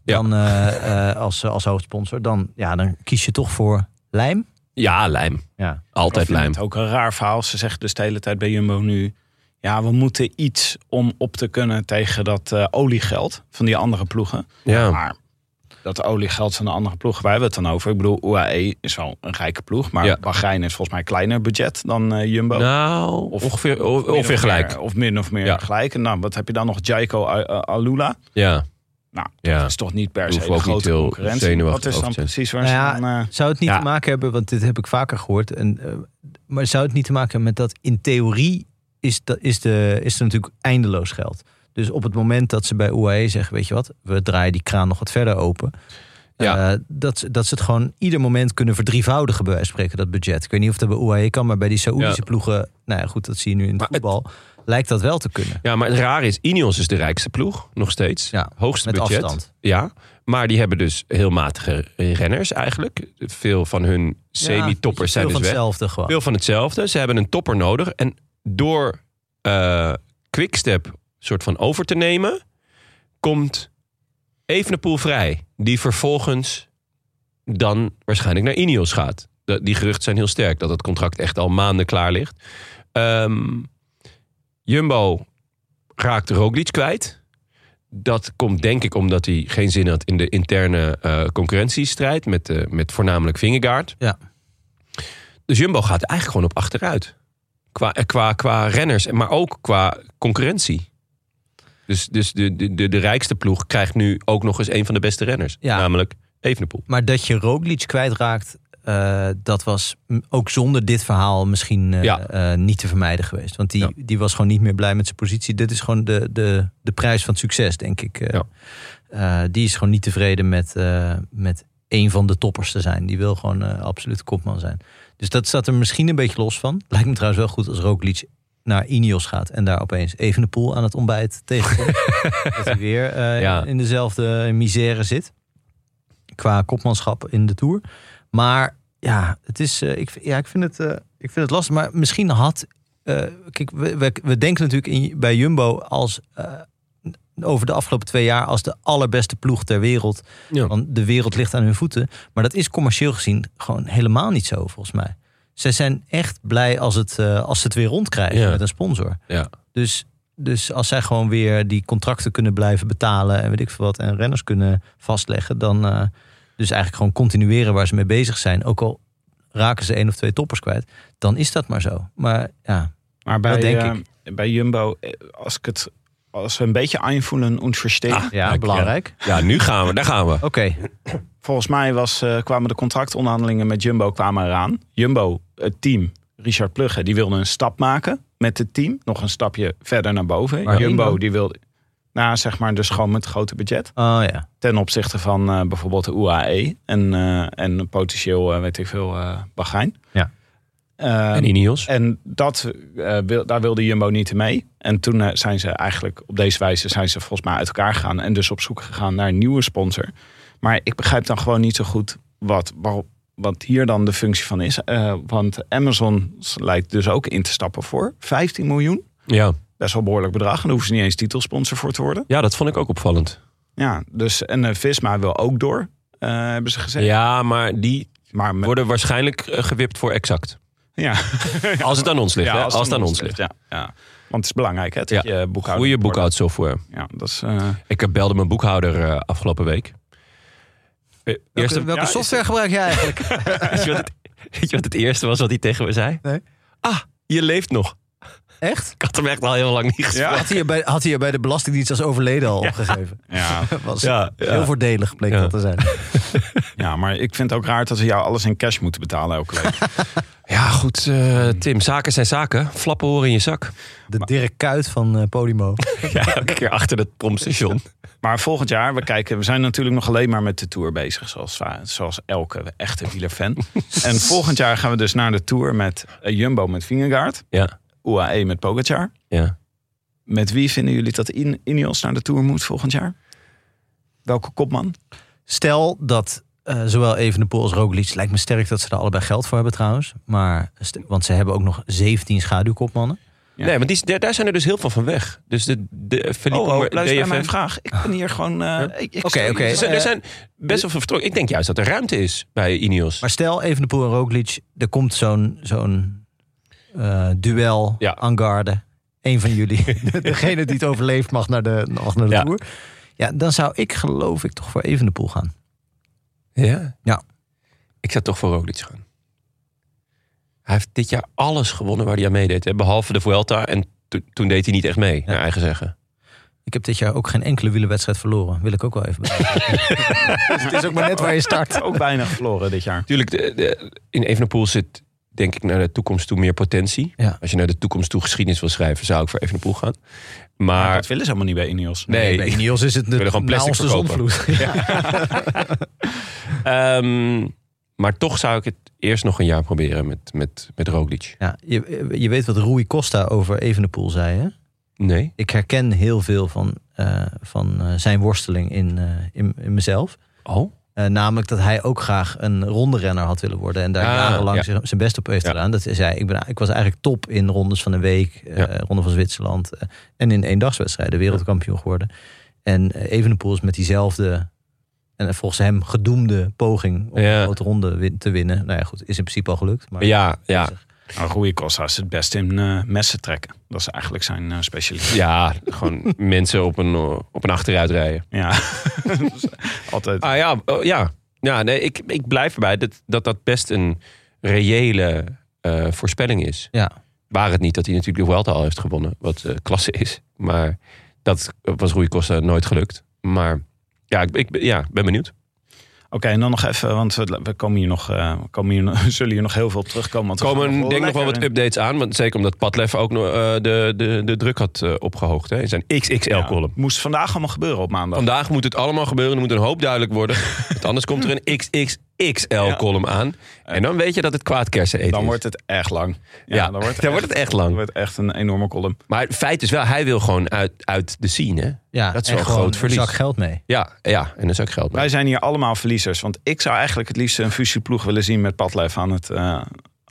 D: dan, eh, eh, als, als hoofdsponsor, dan, ja, dan kies je toch voor lijm.
C: ja lijm.
D: Ja.
C: Altijd lijm.
E: Het ook een raar verhaal. Ze zeggen dus de hele tijd bij Jumbo nu... Ja, we moeten iets om op te kunnen tegen dat eh, oliegeld van die andere ploegen.
C: Ja.
E: Maar dat oliegeld van de andere ploegen, waar hebben we het dan over? Ik bedoel, UAE is wel een rijke ploeg. Maar
C: Ja.
E: Bahrein heeft volgens mij een kleiner budget dan eh, Jumbo.
C: Nou,
E: Of-
C: ongeveer, o-
E: Min
C: ongeveer
E: of
C: gelijk.
E: meer- of min of meer
C: Ja.
E: gelijk. En dan, wat heb je dan nog? Jaiko A- A- Alula.
C: Ja.
E: Nou,
C: ja.
E: Dat is toch niet per se
C: Hoeven we
E: een
C: ook niet
E: grote
C: heel
E: concurrentie.
C: zenuwachtig
E: Wat is dan
C: over te zijn.
E: precies waar
D: Nou
E: ze
D: ja,
E: dan... eh,
D: Zou het niet
C: Ja.
D: te maken hebben, want dit heb ik vaker gehoord. En, eh, maar zou het niet te maken hebben met dat in theorie is, dat, is, de, is er natuurlijk eindeloos geld. Dus op het moment dat ze bij UAE zeggen, weet je wat, we draaien die kraan nog wat verder open.
C: Ja.
D: eh, dat, ze- dat ze het gewoon ieder moment kunnen verdrievoudigen, bij wijze van spreken, dat budget. Ik weet niet of dat bij UAE kan, maar bij die Saoedische
C: Ja.
D: ploegen, nou ja, goed, dat zie je nu in het
C: Maar het-
D: voetbal, lijkt dat wel te kunnen.
C: ja, maar het rare is, Ineos is de rijkste ploeg, nog steeds.
D: Ja,
C: Hoogste
D: Met
C: budget.
D: afstand.
C: Ja, maar die hebben dus heel matige renners eigenlijk. Veel van hun semi-toppers
D: Ja,
C: zijn
D: veel
C: dus
D: van
C: weg.
D: hetzelfde gewoon.
C: Veel van hetzelfde. Ze hebben een topper nodig. En door eh Quickstep soort van over te nemen, komt Evenepoel vrij. Die vervolgens dan waarschijnlijk naar Ineos gaat. De- die geruchten zijn heel sterk dat het contract echt al maanden klaar ligt. Ehm, Jumbo raakt Roglic kwijt. Dat komt denk ik omdat hij geen zin had in de interne eh, concurrentiestrijd met, eh, met voornamelijk Vingegaard.
D: Ja.
C: Dus Jumbo gaat er eigenlijk gewoon op achteruit. Qua, eh, qua, qua renners, maar ook qua concurrentie. Dus, dus de, de, de, de rijkste ploeg krijgt nu ook nog eens een van de beste renners.
D: Ja.
C: Namelijk Evenepoel.
D: Maar dat je Roglic kwijtraakt, eh, dat was m- ook zonder dit verhaal misschien eh,
C: Ja.
D: eh, niet te vermijden geweest. Want die,
C: Ja.
D: die was gewoon niet meer blij met zijn positie. Dit is gewoon de, de, de prijs van het succes, denk ik. Eh,
C: Ja.
D: eh, die is gewoon niet tevreden met, eh, met een van de toppers te zijn. Die wil gewoon eh, absoluut kopman zijn. Dus dat staat er misschien een beetje los van. Lijkt me trouwens wel goed als Roglic naar Ineos gaat en daar opeens even de poel aan het ontbijt tegenkomt. dat hij weer eh,
C: Ja.
D: in dezelfde misère zit. Qua kopmanschap in de Tour. Maar ja, het is, eh, ik, v- ja ik, vind het, eh, ik vind het lastig. Maar misschien had eh, kijk, we, we, we denken natuurlijk in, bij Jumbo als eh, over de afgelopen twee jaar als de allerbeste ploeg ter wereld.
C: Ja.
D: Want de wereld ligt aan hun voeten. Maar dat is commercieel gezien gewoon helemaal niet zo, volgens mij. Ze zijn echt blij als, het, eh, als ze het weer rondkrijgen
C: Ja.
D: met een sponsor.
C: Ja.
D: Dus, dus als zij gewoon weer die contracten kunnen blijven betalen en weet ik veel wat, en renners kunnen vastleggen, dan eh, dus eigenlijk gewoon continueren waar ze mee bezig zijn. Ook al raken ze één of twee toppers kwijt, dan is dat maar zo. Maar ja,
E: Maar bij,
D: Dat denk
E: eh, bij Jumbo, eh, als, ik het, als we een beetje aanvoelen en verstehen.
C: Ah,
D: ja
C: kijk,
D: belangrijk.
C: Ja, nu gaan we. Daar gaan we.
D: Oké,
E: Volgens mij was, eh, kwamen de contractonderhandelingen met Jumbo kwamen eraan. Jumbo, het team, Richard Plugge, die wilde een stap maken met het team. Nog een stapje verder naar boven.
D: Waarheen
E: Jumbo,
D: dan?
E: die wilde... Nou, zeg maar dus gewoon met grote budget.
D: oh ja.
E: Ten opzichte van eh, bijvoorbeeld de UAE en, eh, en potentieel, eh, weet ik veel, eh Bahrein.
D: Ja.
E: Eh,
C: En Ineos.
E: en dat, eh, wil, daar wilde Jumbo niet in mee. En toen eh, zijn ze eigenlijk op deze wijze zijn ze volgens mij uit elkaar gegaan. En dus op zoek gegaan naar een nieuwe sponsor. Maar ik begrijp dan gewoon niet zo goed wat, waar- wat hier dan de functie van is. Eh, want Amazon lijkt dus ook in te stappen voor 15 miljoen.
C: Ja.
E: Best wel een behoorlijk bedrag. En daar hoeven ze niet eens titelsponsor voor te worden.
C: ja, dat vond ik ook opvallend.
E: Ja, dus, en eh, Visma wil ook door, eh, hebben ze gezegd.
C: Ja, maar die
E: Maar met-
C: worden waarschijnlijk eh, gewipt voor exact.
E: ja.
C: Als het aan ons ligt. hè?
E: Ja,
C: Als, het aan ons ligt.
E: Ja, ja. Want het is belangrijk, hè? Dat
C: Ja.
E: je boekhouding
C: Goede
E: op orde
C: boekhoudsoftware.
E: Ja, dat is. eh,
C: Ik heb- belde mijn boekhouder eh, afgelopen week. Eh,
D: Welke,
C: eerste-
D: welke
E: ja, is-
D: software gebruik jij eigenlijk?
C: weet, je wat het, weet je wat het eerste was wat hij tegen me zei?
D: Nee.
C: Ah, je leeft nog.
D: Echt?
C: Ik had hem echt al heel lang niet gesproken.
E: ja,
D: Had hij, je bij, had hij je bij de Belastingdienst als overleden al opgegeven?
E: ja,
D: Was
C: Ja, ja.
D: heel voordelig, bleek
C: Ja.
D: dat te zijn.
E: ja, maar ik vind het ook raar dat ze jou alles in cash moeten betalen elke week.
C: Ja, goed, eh, Tim. Zaken zijn zaken. Flappen horen in je zak.
D: De Dirk Kuit van eh, Podimo.
C: Ja, elke keer achter het promstation.
E: Maar volgend jaar, we kijken, we zijn natuurlijk nog alleen maar met de tour bezig, zoals, va- zoals elke echte wielerfan. en volgend jaar gaan we dus naar de tour met eh, Jumbo met Vingegaard,
C: Ja,
E: UAE met Pogacar.
C: ja.
E: Met wie vinden jullie dat In- Ineos naar de tour moet volgend jaar? Welke kopman?
D: Stel dat eh zowel Evenepoel als Roglic... lijkt me sterk dat ze daar allebei geld voor hebben trouwens. Maar, st- want ze hebben ook nog 17 schaduwkopmannen.
E: Ja.
C: Nee, want die, daar- daar zijn er dus heel veel van weg. Dus de, de Felipe
E: Oh, luister naar
C: DFM.
E: mijn vraag. Ik ben hier gewoon... eh, ik- ik-
D: Oké, oké.
C: Dus Er zijn, er zijn best wel veel vertrokken. Ik denk juist dat er ruimte is bij Ineos.
D: Maar stel Evenepoel en Roglic, er komt zo'n zo'n eh, duel
C: Ja.
D: aan garde. Eén van jullie. Degene die het overleeft mag naar de, mag naar de
C: Ja.
D: Tour. Ja, dan zou ik geloof ik toch voor Evenepoel gaan.
C: Ja?
D: Ja.
C: Ik zou toch voor Roglic gaan. Hij heeft dit jaar alles gewonnen waar hij aan meedeed. hè, Behalve de Vuelta. En to- toen deed hij niet echt mee, naar eigen zeggen.
D: Ik heb dit jaar ook geen enkele wielerwedstrijd verloren. Wil ik ook wel even benadrukken. Dus het is ook maar net waar je
C: Eh,
D: start.
E: Ook weinig verloren dit jaar.
C: Tuurlijk, de, de, in Evenepoel zit denk ik naar de toekomst toe meer potentie.
D: Ja.
C: Als je naar de toekomst toe geschiedenis wil schrijven, zou ik voor Evenepoel gaan.
E: Maar
C: Maar
E: dat willen ze helemaal niet bij Ineos.
C: nee,
D: Bij Niels is het
C: willen
D: de
C: gewoon plastic
D: naalste
C: verkopen.
D: zonvloed. Ja.
C: ehm, maar toch zou ik het eerst nog een jaar proberen met, met, met Roglic.
D: Ja, je, je weet wat Rui Costa over Evenepoel zei, hè?
C: Nee.
D: Ik herken heel veel van, eh, van eh, zijn worsteling in, eh, in, in mezelf.
C: Oh?
D: Eh, namelijk dat hij ook graag een ronde renner had willen worden. En daar
C: Ah,
D: jarenlang
C: ja.
D: zich- zijn best op heeft
C: Ja.
D: gedaan. Dat is hij, ik, ben, ik was eigenlijk top in rondes van een week. eh, Ronde van Zwitserland. eh, en in eendagswedstrijden wereldkampioen geworden. En eh, Evenepoel is met diezelfde... En eh, volgens hem gedoemde poging om
C: Ja.
D: een grote ronde win- te winnen. Nou ja, goed, is in principe al gelukt. Maar
C: Ja, ja,
E: Nou, Rui Costa is het best in eh, messen trekken. Dat is eigenlijk zijn eh specialiteit.
C: ja, gewoon mensen op een, eh, op een achteruit rijden.
E: Ja, Dus, eh, altijd.
C: Ah ja, oh, ja. ja nee, ik, ik blijf erbij dat dat, dat best een reële eh, voorspelling is.
D: Ja.
C: Waar het niet dat hij natuurlijk de Vuelta al heeft gewonnen, wat eh, klasse is. Maar dat was Rui Costa nooit gelukt. Maar ja, ik, ik ben- ja, ben benieuwd.
E: Oké, en dan nog even, want we, we komen hier nog, eh, we komen hier, nog- zullen hier nog heel veel op terugkomen. Want
C: Er
E: we gaan
C: komen denk nog wel wat
E: lekker-
C: updates aan. Want zeker omdat Padlef ook nog, eh, de, de, de druk had eh, opgehoogd hè, in zijn XXL-column.
E: Ja, moest vandaag allemaal gebeuren op maandag.
C: Vandaag moet het allemaal gebeuren. Er moet een hoop duidelijk worden. Want anders komt er een XXXL-column aan. En dan weet je dat het kwaad kersen eten
E: Dan
C: is.
E: wordt het echt lang.
C: ja, dan wordt het, echt lang.
E: dan wordt het echt een enorme column.
C: Maar het feit is wel, hij wil gewoon uit, uit de scene. hè?
D: ja,
C: dat is
D: en
C: wel een
D: gewoon
C: groot verlies.
D: Een zak geld mee.
C: Ja, ja, en dan zou ik geld mee.
E: Wij zijn hier allemaal verliezers. Want ik zou eigenlijk het liefst een fusieploeg willen zien met Padlef aan het, eh,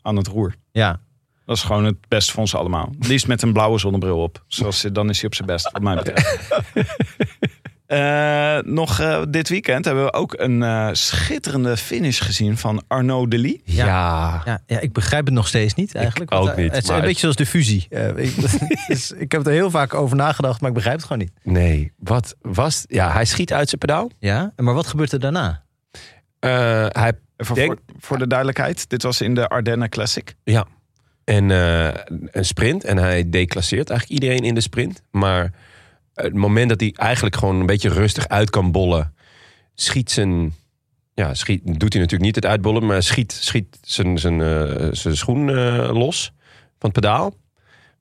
E: aan het roer.
D: Ja.
E: Dat is gewoon het beste voor ons allemaal. Het liefst met een blauwe zonnebril op. Zoals, dan is hij op zijn best, wat mij betreft. Eh, nog eh, dit weekend hebben we ook een eh, schitterende finish gezien van Arnaud Delis.
C: Ja.
D: Ja, ja, ik begrijp het nog steeds niet eigenlijk.
C: Ik
D: want,
C: ook
D: eh,
C: niet,
D: Het is
C: maar
D: een
C: het-
D: beetje zoals de fusie. Eh, ik, dus ik heb er heel vaak over nagedacht, maar ik begrijp het gewoon niet.
C: Nee, wat was... Ja, hij schiet uit zijn pedaal.
D: Ja, maar wat gebeurt er daarna?
C: Eh, hij
E: Even
C: Denk-
E: voor, voor de duidelijkheid, dit was in de Ardennen Classic.
C: En eh, een sprint. En hij declasseert eigenlijk iedereen in de sprint. Maar het moment dat hij eigenlijk gewoon een beetje rustig uit kan bollen. Schiet zijn... Ja, schiet, doet hij natuurlijk niet het uitbollen. Maar schiet, schiet zijn, zijn, eh, zijn schoen eh, los van het pedaal.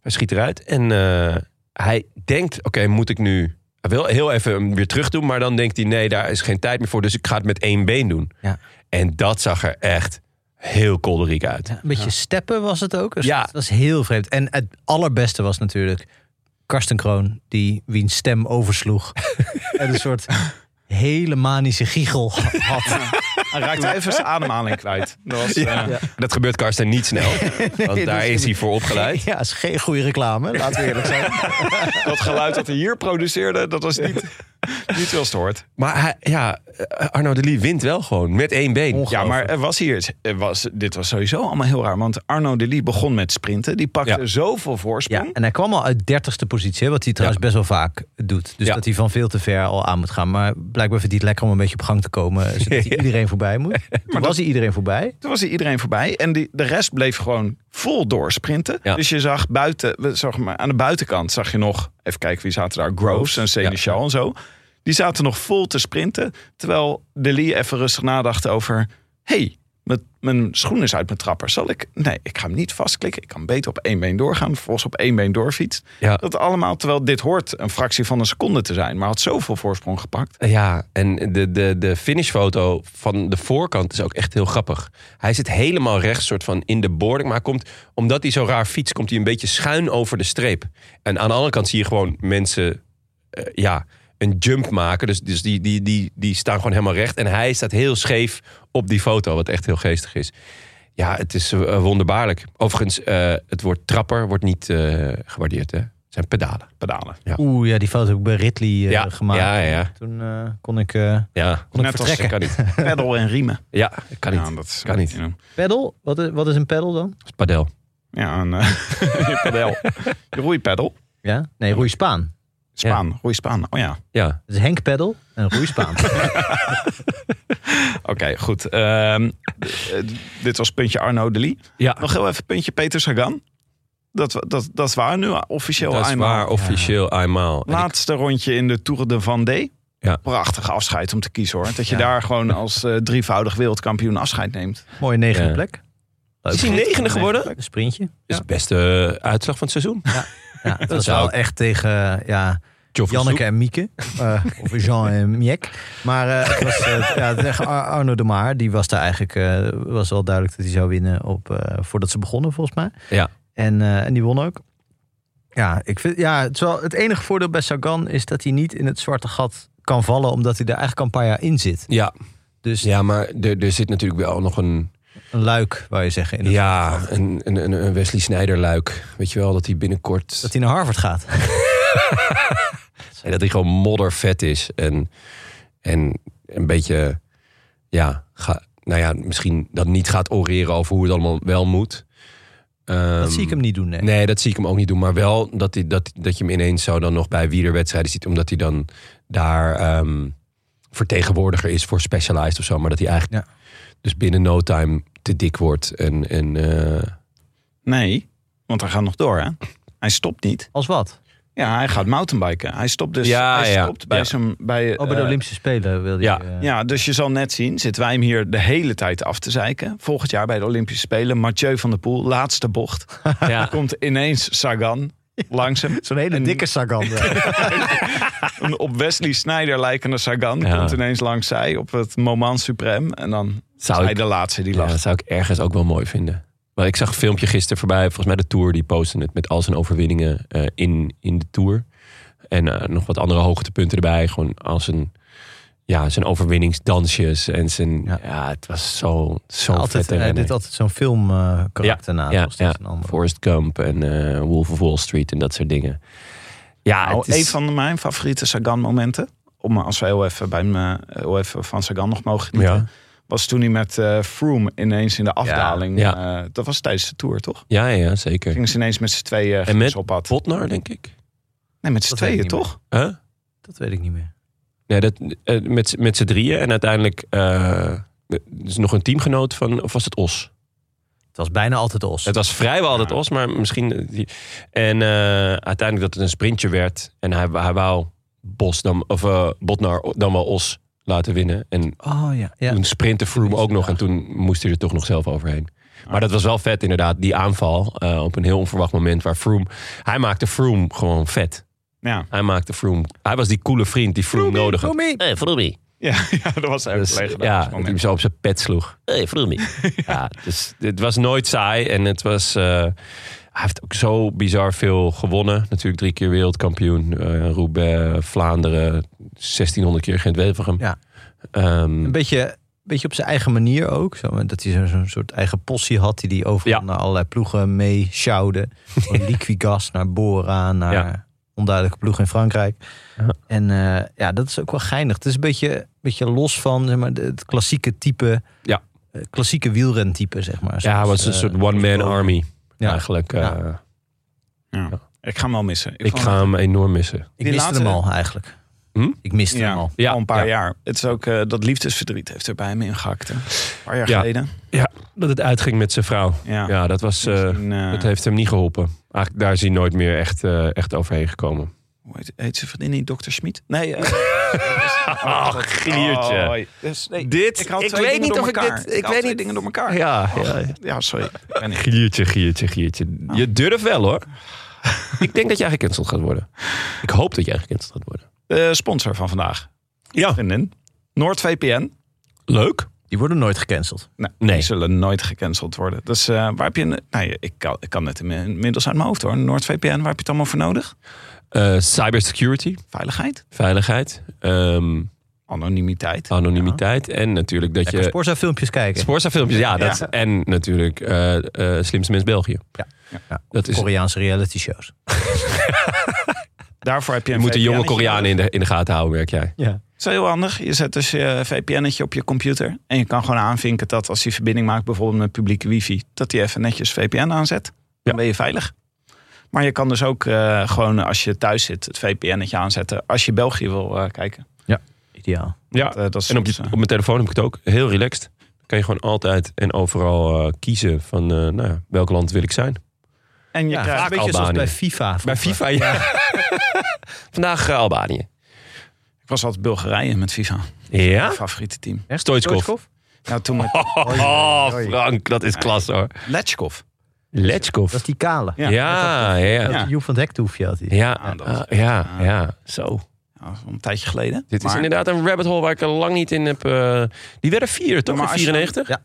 C: Hij schiet eruit. En eh, hij denkt, oké, moet ik nu... Hij wil heel even hem weer terug doen. Maar dan denkt hij, nee, daar is geen tijd meer voor. Dus ik ga het met één been doen.
D: Ja.
C: En dat zag er echt heel kolderiek uit.
D: Ja, een beetje steppen was het ook. Dus
C: Ja.
D: Dat was heel vreemd. En het allerbeste was natuurlijk Karsten Kroon, die wiens stem oversloeg. en een soort hele manische giegel had.
E: Hij raakte even zijn ademhaling kwijt. Dat was, eh,
C: Dat gebeurt Karsten niet snel. want
D: dat
C: daar
D: is
C: is hij voor opgeleid.
D: Ja, is geen goede reclame, laten we eerlijk zijn.
E: Dat geluid dat hij hier produceerde, dat was niet, niet veel stoort.
C: Maar hij, ja, eh, Arno de Lee wint wel gewoon. Met één been.
E: Ja, maar er was hier, er was, dit was sowieso allemaal heel raar. Want Arno Delis begon met sprinten. Die pakte
C: Ja.
E: zoveel voorsprong.
D: Ja, en hij kwam al uit dertigste positie, hè, wat hij trouwens best wel vaak doet. Dus
C: Ja.
D: dat hij van veel te ver al aan moet gaan. Maar blijkbaar vindt hij het lekker om een beetje op gang te komen, zodat hij iedereen voorbij moet. Toen was hij iedereen voorbij.
E: Toen was hij iedereen voorbij. En die, de rest bleef gewoon vol doorsprinten.
C: Ja.
E: Dus je zag buiten, we zag maar, aan de buitenkant zag je nog... Even kijken, wie zaten daar? Groves en Seneschal en zo. Die zaten nog vol te sprinten. Terwijl de Lee even rustig nadacht over... hey, mijn, mijn schoen is uit mijn trapper. Zal ik... Nee, ik ga hem niet vastklikken. Ik kan beter op één been doorgaan. Vervolgens op één been doorfiets.
C: Ja.
E: Dat allemaal, terwijl dit hoort een fractie van een seconde te zijn. Maar had zoveel voorsprong gepakt.
C: Ja, en de, de, de finishfoto van de voorkant is ook echt heel grappig. Hij zit helemaal rechts, soort van in de boarding. Maar hij komt, omdat hij zo raar fietst, komt hij een beetje schuin over de streep. En aan de andere kant zie je gewoon mensen eh, ja, een jump maken. Dus, dus die, die, die, die staan gewoon helemaal recht. En hij staat heel scheef op die foto, wat echt heel geestig is. Ja, het is eh, wonderbaarlijk. Overigens, eh, het woord trapper wordt niet eh, gewaardeerd. Hè? Het zijn pedalen.
E: Pedalen.
D: Oeh, ja, die foto heb ik bij Ridley eh,
C: ja,
D: gemaakt.
C: ja, ja,
D: Toen eh, kon ik... eh
C: ja.
D: Kon ik
E: Net als
D: vertrekken?
C: Kan niet.
E: Pedal en riemen.
C: Ja, kan niet.
E: Ja, dat is-
C: Kan niet.
E: Ja,
D: Pedal? Wat is, wat is een pedal dan?
C: Dat is padel.
E: Ja, een eh, je pedel. Je roeipedel.
D: Ja? Nee, roeispaan.
E: Spaan, roeispaan. Oh ja.
C: Ja.
D: Dat is Henk pedal en roeispaan.
E: Oké, goed. Ehm, d- eh, dit was puntje Arno Delis.
C: ja.
E: Nog heel even puntje Peter Sagan. Dat, wa- dat, dat is waar nu eh, officieel.
C: Dat is
E: eenmaal.
C: waar, officieel eenmaal. En ik-
E: Laatste rondje in de Tour de Vendée.
C: Ja.
E: Prachtige afscheid om te kiezen hoor. Dat je
D: Ja.
E: daar gewoon als eh, drievoudig wereldkampioen afscheid neemt.
D: Mooie negende
C: Ja.
D: plek. Leuk.
C: Is hij negende geworden?
D: Een sprintje.
C: Is de beste eh, uitslag van het seizoen.
D: Ja, dat was
C: zou
D: wel
C: ik-
D: echt tegen eh, ja,
C: Joffrey
D: Janneke en Mieke. eh, of Jean en Miek. Maar eh, het was, eh, ja, tegen Ar- Arno de Maar. Die was daar eigenlijk... eh, was wel duidelijk dat hij zou winnen op, eh, voordat ze begonnen, volgens mij.
C: Ja.
D: En, eh, en die won ook. Ja, ik vind, ja het, is wel- het enige voordeel bij Sagan is dat hij niet in het zwarte gat kan vallen... omdat hij er eigenlijk al een paar jaar in zit.
C: Ja,
D: Dus
C: ja, maar er, er zit natuurlijk wel nog een...
D: een luik, wou je zeggen. In het-
C: Ja, een, een, een- een Wesley Snijder-luik. Weet je wel, dat hij binnenkort...
D: Dat
C: Dat
D: hij naar Harvard gaat.
C: hij, dat hij gewoon moddervet is. En, en een beetje... Ja, ga, nou ja, misschien dat niet gaat oreren over hoe het allemaal wel moet.
D: Dat zie ik hem niet doen, nee.
C: Nee, dat zie ik hem ook niet doen. Maar wel dat, hij, dat, dat je hem ineens zo dan nog bij wielerwedstrijden ziet. Omdat hij dan daar ehm, vertegenwoordiger is voor Specialized of zo. Maar dat hij eigenlijk
D: Ja.
C: dus binnen no time te dik wordt. En, en eh,
E: Nee, want hij gaat nog door hè. Hij stopt niet.
D: Als wat?
E: Ja, hij gaat mountainbiken. Hij stopt dus.
C: Ja,
E: hij
C: ja.
E: stopt bij
C: Ja.
E: zijn... Bij,
D: Oh, bij de
E: eh,
D: Olympische Spelen wilde
C: ja.
D: je... eh,
E: Ja, dus je zal net zien, zitten wij hem hier de hele tijd af te zeiken. Volgend jaar bij de Olympische Spelen, Mathieu van der Poel, laatste bocht.
C: ja.
E: Komt ineens Sagan langs hem.
D: Zo'n hele
E: En-
D: dikke Sagan. eh.
E: Een op Wesley Snyder lijkende Sagan
C: Ja.
E: komt ineens langs zij op het moment suprême. En dan is
C: zou,
E: hij
C: ik,
E: de laatste die
C: ja,
E: lacht.
C: dat zou ik ergens ook wel mooi vinden. Maar ik zag een filmpje gisteren voorbij. Volgens mij de Tour, die postte het met al zijn overwinningen eh, in, in de Tour. En eh, nog wat andere hoogtepunten erbij. Gewoon als een... ja, zijn overwinningsdansjes en zijn... Ja,
D: Ja.
C: het was zo, zo
D: Altijd,
C: vette
D: eh,
C: renner.
D: dit altijd zo'n film eh, karakter na.
C: ja,
D: Ja,
C: ja.
D: Een ander.
C: Forrest Gump en eh, Wolf of Wall Street en dat soort dingen. Ja,
E: Nou,
C: Ah, het is-
E: Een van mijn favoriete Sagan-momenten, om als we heel even, bij me, heel even van Sagan nog mogen genieten,
C: Ja.
E: was toen hij met eh, Froome ineens in de afdaling.
C: Ja.
E: eh, dat was tijdens de Tour, toch?
C: Ja, ja, zeker.
E: Gingen ze ineens met z'n tweeën
C: En met
E: op pad.
C: Potnar, denk ik.
E: Nee, met z'n
D: Dat weet ik
E: tweeën,
D: niet
E: toch?
C: Huh?
D: Dat weet ik niet meer.
C: Nee, dat, eh, met, z'n- met z'n drieën. En uiteindelijk eh, is nog een teamgenoot van... Of was het Os?
D: Het was bijna altijd Os.
C: Het was vrijwel altijd Os, maar misschien... En eh, uiteindelijk dat het een sprintje werd. En hij, hij wou Bos dan, of, eh, Botnar dan wel Os laten winnen. En
D: Oh ja. ja.
C: Toen sprintte Froome
D: Tenminste,
C: ook nog
D: ja.
C: en toen moest hij er toch nog zelf overheen. Maar dat was wel vet inderdaad, die aanval eh, op een heel onverwacht moment waar Froome... Hij maakte Froome gewoon vet.
E: Ja,
C: Hij maakte Froome... Hij was die coole vriend die Froome nodig had.
D: Roemie.
C: Hey, Froome.
E: ja, ja dat was even
C: Dus,
E: dus,
C: ja, dat hij hem zo op zijn pet sloeg. Hey, Froome. ja. dus het was nooit saai en het was... eh, hij heeft ook zo bizar veel gewonnen. Natuurlijk drie keer wereldkampioen. eh, Roubaix, Vlaanderen, 1600 keer Gent-Wevelgem.
D: Ja.
C: Ehm,
D: Een beetje, beetje op zijn eigen manier ook. Zo, dat hij zo'n zo'n soort eigen possie had die hij overal
C: Ja.
D: naar allerlei ploegen mee sjouwde. Van Liquigas naar Bora, naar
C: Ja.
D: onduidelijke ploeg in Frankrijk.
C: Ja.
D: En eh, ja, dat is ook wel geinig. Het is een beetje, beetje los van zeg maar, de- het klassieke type.
C: Ja.
D: eh, Klassieke wielrentype, zeg maar.
C: Ja, hij
D: Zoals,
C: was een
D: eh,
C: soort one-man
D: Bowen.
C: army.
D: Ja.
C: Eigenlijk.
D: Ja.
C: eh,
E: Ik ga hem wel missen.
C: ik
E: vond-
C: ga hem enorm missen.
D: Ik
E: Die
D: miste
E: laatste-
D: hem al eigenlijk.
C: Hm?
D: Ik miste
E: ja,
D: hem al.
C: Ja,
E: al een paar
C: ja.
E: jaar. Het is ook eh, dat liefdesverdriet heeft er bij me ingehakt. hè. Een paar jaar
C: Ja.
E: geleden.
C: Dat het uitging met zijn vrouw.
E: Ja.
C: Ja, dat was. eh,
E: Misschien, eh,
C: dat heeft hem niet geholpen. Eigenlijk, daar is hij nooit meer echt, eh, echt overheen gekomen.
E: Hoe heet, heet ze vriendin niet? Dr. Schmid? Nee. eh,
C: Ach,
E: God.
C: gliertje.
E: Oh, dus, nee,
C: Dit-
E: Ik, haal
C: ik
E: twee
C: weet
E: dingen
C: niet
E: door
C: of ik
E: elkaar.
C: dit- ik
E: haal
C: weet
E: twee
C: niet.
E: dingen door elkaar.
C: Ja, Ah,
E: ja, ja, sorry. Ik ben ik.
C: Giertje, giertje, giertje. Je durft wel hoor. Ik denk dat jij gecanceld gaat worden. Ik hoop dat jij gecanceld gaat worden.
E: Eh, sponsor van vandaag.
C: Ja.
E: Vriendin. NoordVPN.
C: Leuk.
D: Die worden nooit gecanceld.
E: Nou,
C: Nee.
E: Die zullen nooit gecanceld worden. Dus eh, waar heb je... een- Nou, ik kan, ik kan het inmiddels uit mijn hoofd hoor. NoordVPN, waar heb je het allemaal voor nodig?
C: Eh, cybersecurity,
E: Veiligheid,
C: veiligheid, ehm,
E: anonimiteit.
C: Oh. anonimiteit en natuurlijk dat
D: Lekker
C: je.
D: Sporza filmpjes kijken.
C: Sporza filmpjes, ja. Dat,
E: Ja.
C: En natuurlijk eh, eh, Slimste Mens België.
D: Ja,
C: Dat is,
D: Koreaanse reality shows.
E: Daarvoor heb je
C: je
E: een
C: moet de jonge
E: VPN -etje
C: Koreanen
E: nodig.
C: in de, in de gaten houden, merk jij.
D: Ja.
E: Dat is heel handig. Je zet dus je VPN-etje op je computer. En je kan gewoon aanvinken dat als je verbinding maakt... bijvoorbeeld met publieke wifi... dat hij even netjes VPN aanzet. Dan
C: Ja.
E: ben je veilig. Maar je kan dus ook eh, gewoon als je thuis zit... het VPN-etje aanzetten als je België wil eh, kijken.
D: Ideaal.
C: Ja,
E: Want, eh, dat is
C: en op, je,
E: soms, eh,
C: op mijn telefoon heb ik het ook. Heel relaxed. Dan kan je gewoon altijd en overal eh, kiezen van eh, nou, ja, welk land wil ik zijn.
E: en je
D: Ja,
E: krijgt...
D: een beetje zoals
C: Albanië.
D: bij FIFA.
C: Bij FIFA, ja. Vandaag eh, Albanië.
E: Ik was altijd Bulgarije met FIFA.
C: Ja?
E: Mijn favoriete team.
C: Stoichkov.
E: Nou, toen met
C: Oh, Frank, dat is klas hoor.
E: Letchkov.
C: Letchkov.
D: Dat is die kale.
E: Ja.
C: Ja, ja.
E: Ja.
C: Ja,
D: Joep van het Hektoefje had hij.
C: ja,
E: Ah, dat was
C: ah,
E: echt,
C: ja,
E: ah.
C: ja. Zo.
E: Ja, dat is al een tijdje geleden.
C: Dit is
E: Maar-
C: inderdaad een rabbit hole waar ik er lang niet in heb. eh, die werden vier, toch?
E: Maar
C: in
E: als je-
C: 94?
D: Ja.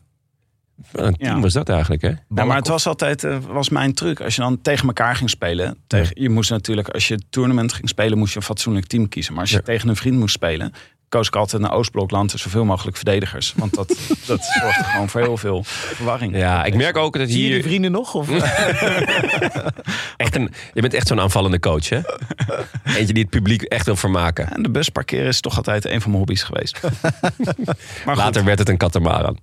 C: Wat een team
E: Ja.
C: was dat eigenlijk, hè?
E: Nou, maar het was altijd eh, was mijn truc. Als je dan tegen elkaar ging spelen. Tegen, je moest natuurlijk, als je tournament ging spelen, moest je een fatsoenlijk team kiezen. Maar als je
C: Ja.
E: tegen een vriend moest spelen, koos ik altijd naar Oostblokland en zoveel mogelijk verdedigers. Want dat, dat zorgde gewoon voor heel veel verwarring.
C: Ja, ik merk ook dat
D: Zie je die
C: hier...
D: vrienden nog? Of?
C: Echt een, je bent echt zo'n aanvallende coach, hè? Eentje die het publiek echt wil vermaken.
E: En de bus parkeren is toch altijd een van mijn hobby's geweest. maar goed,
C: Later werd het een katamaran.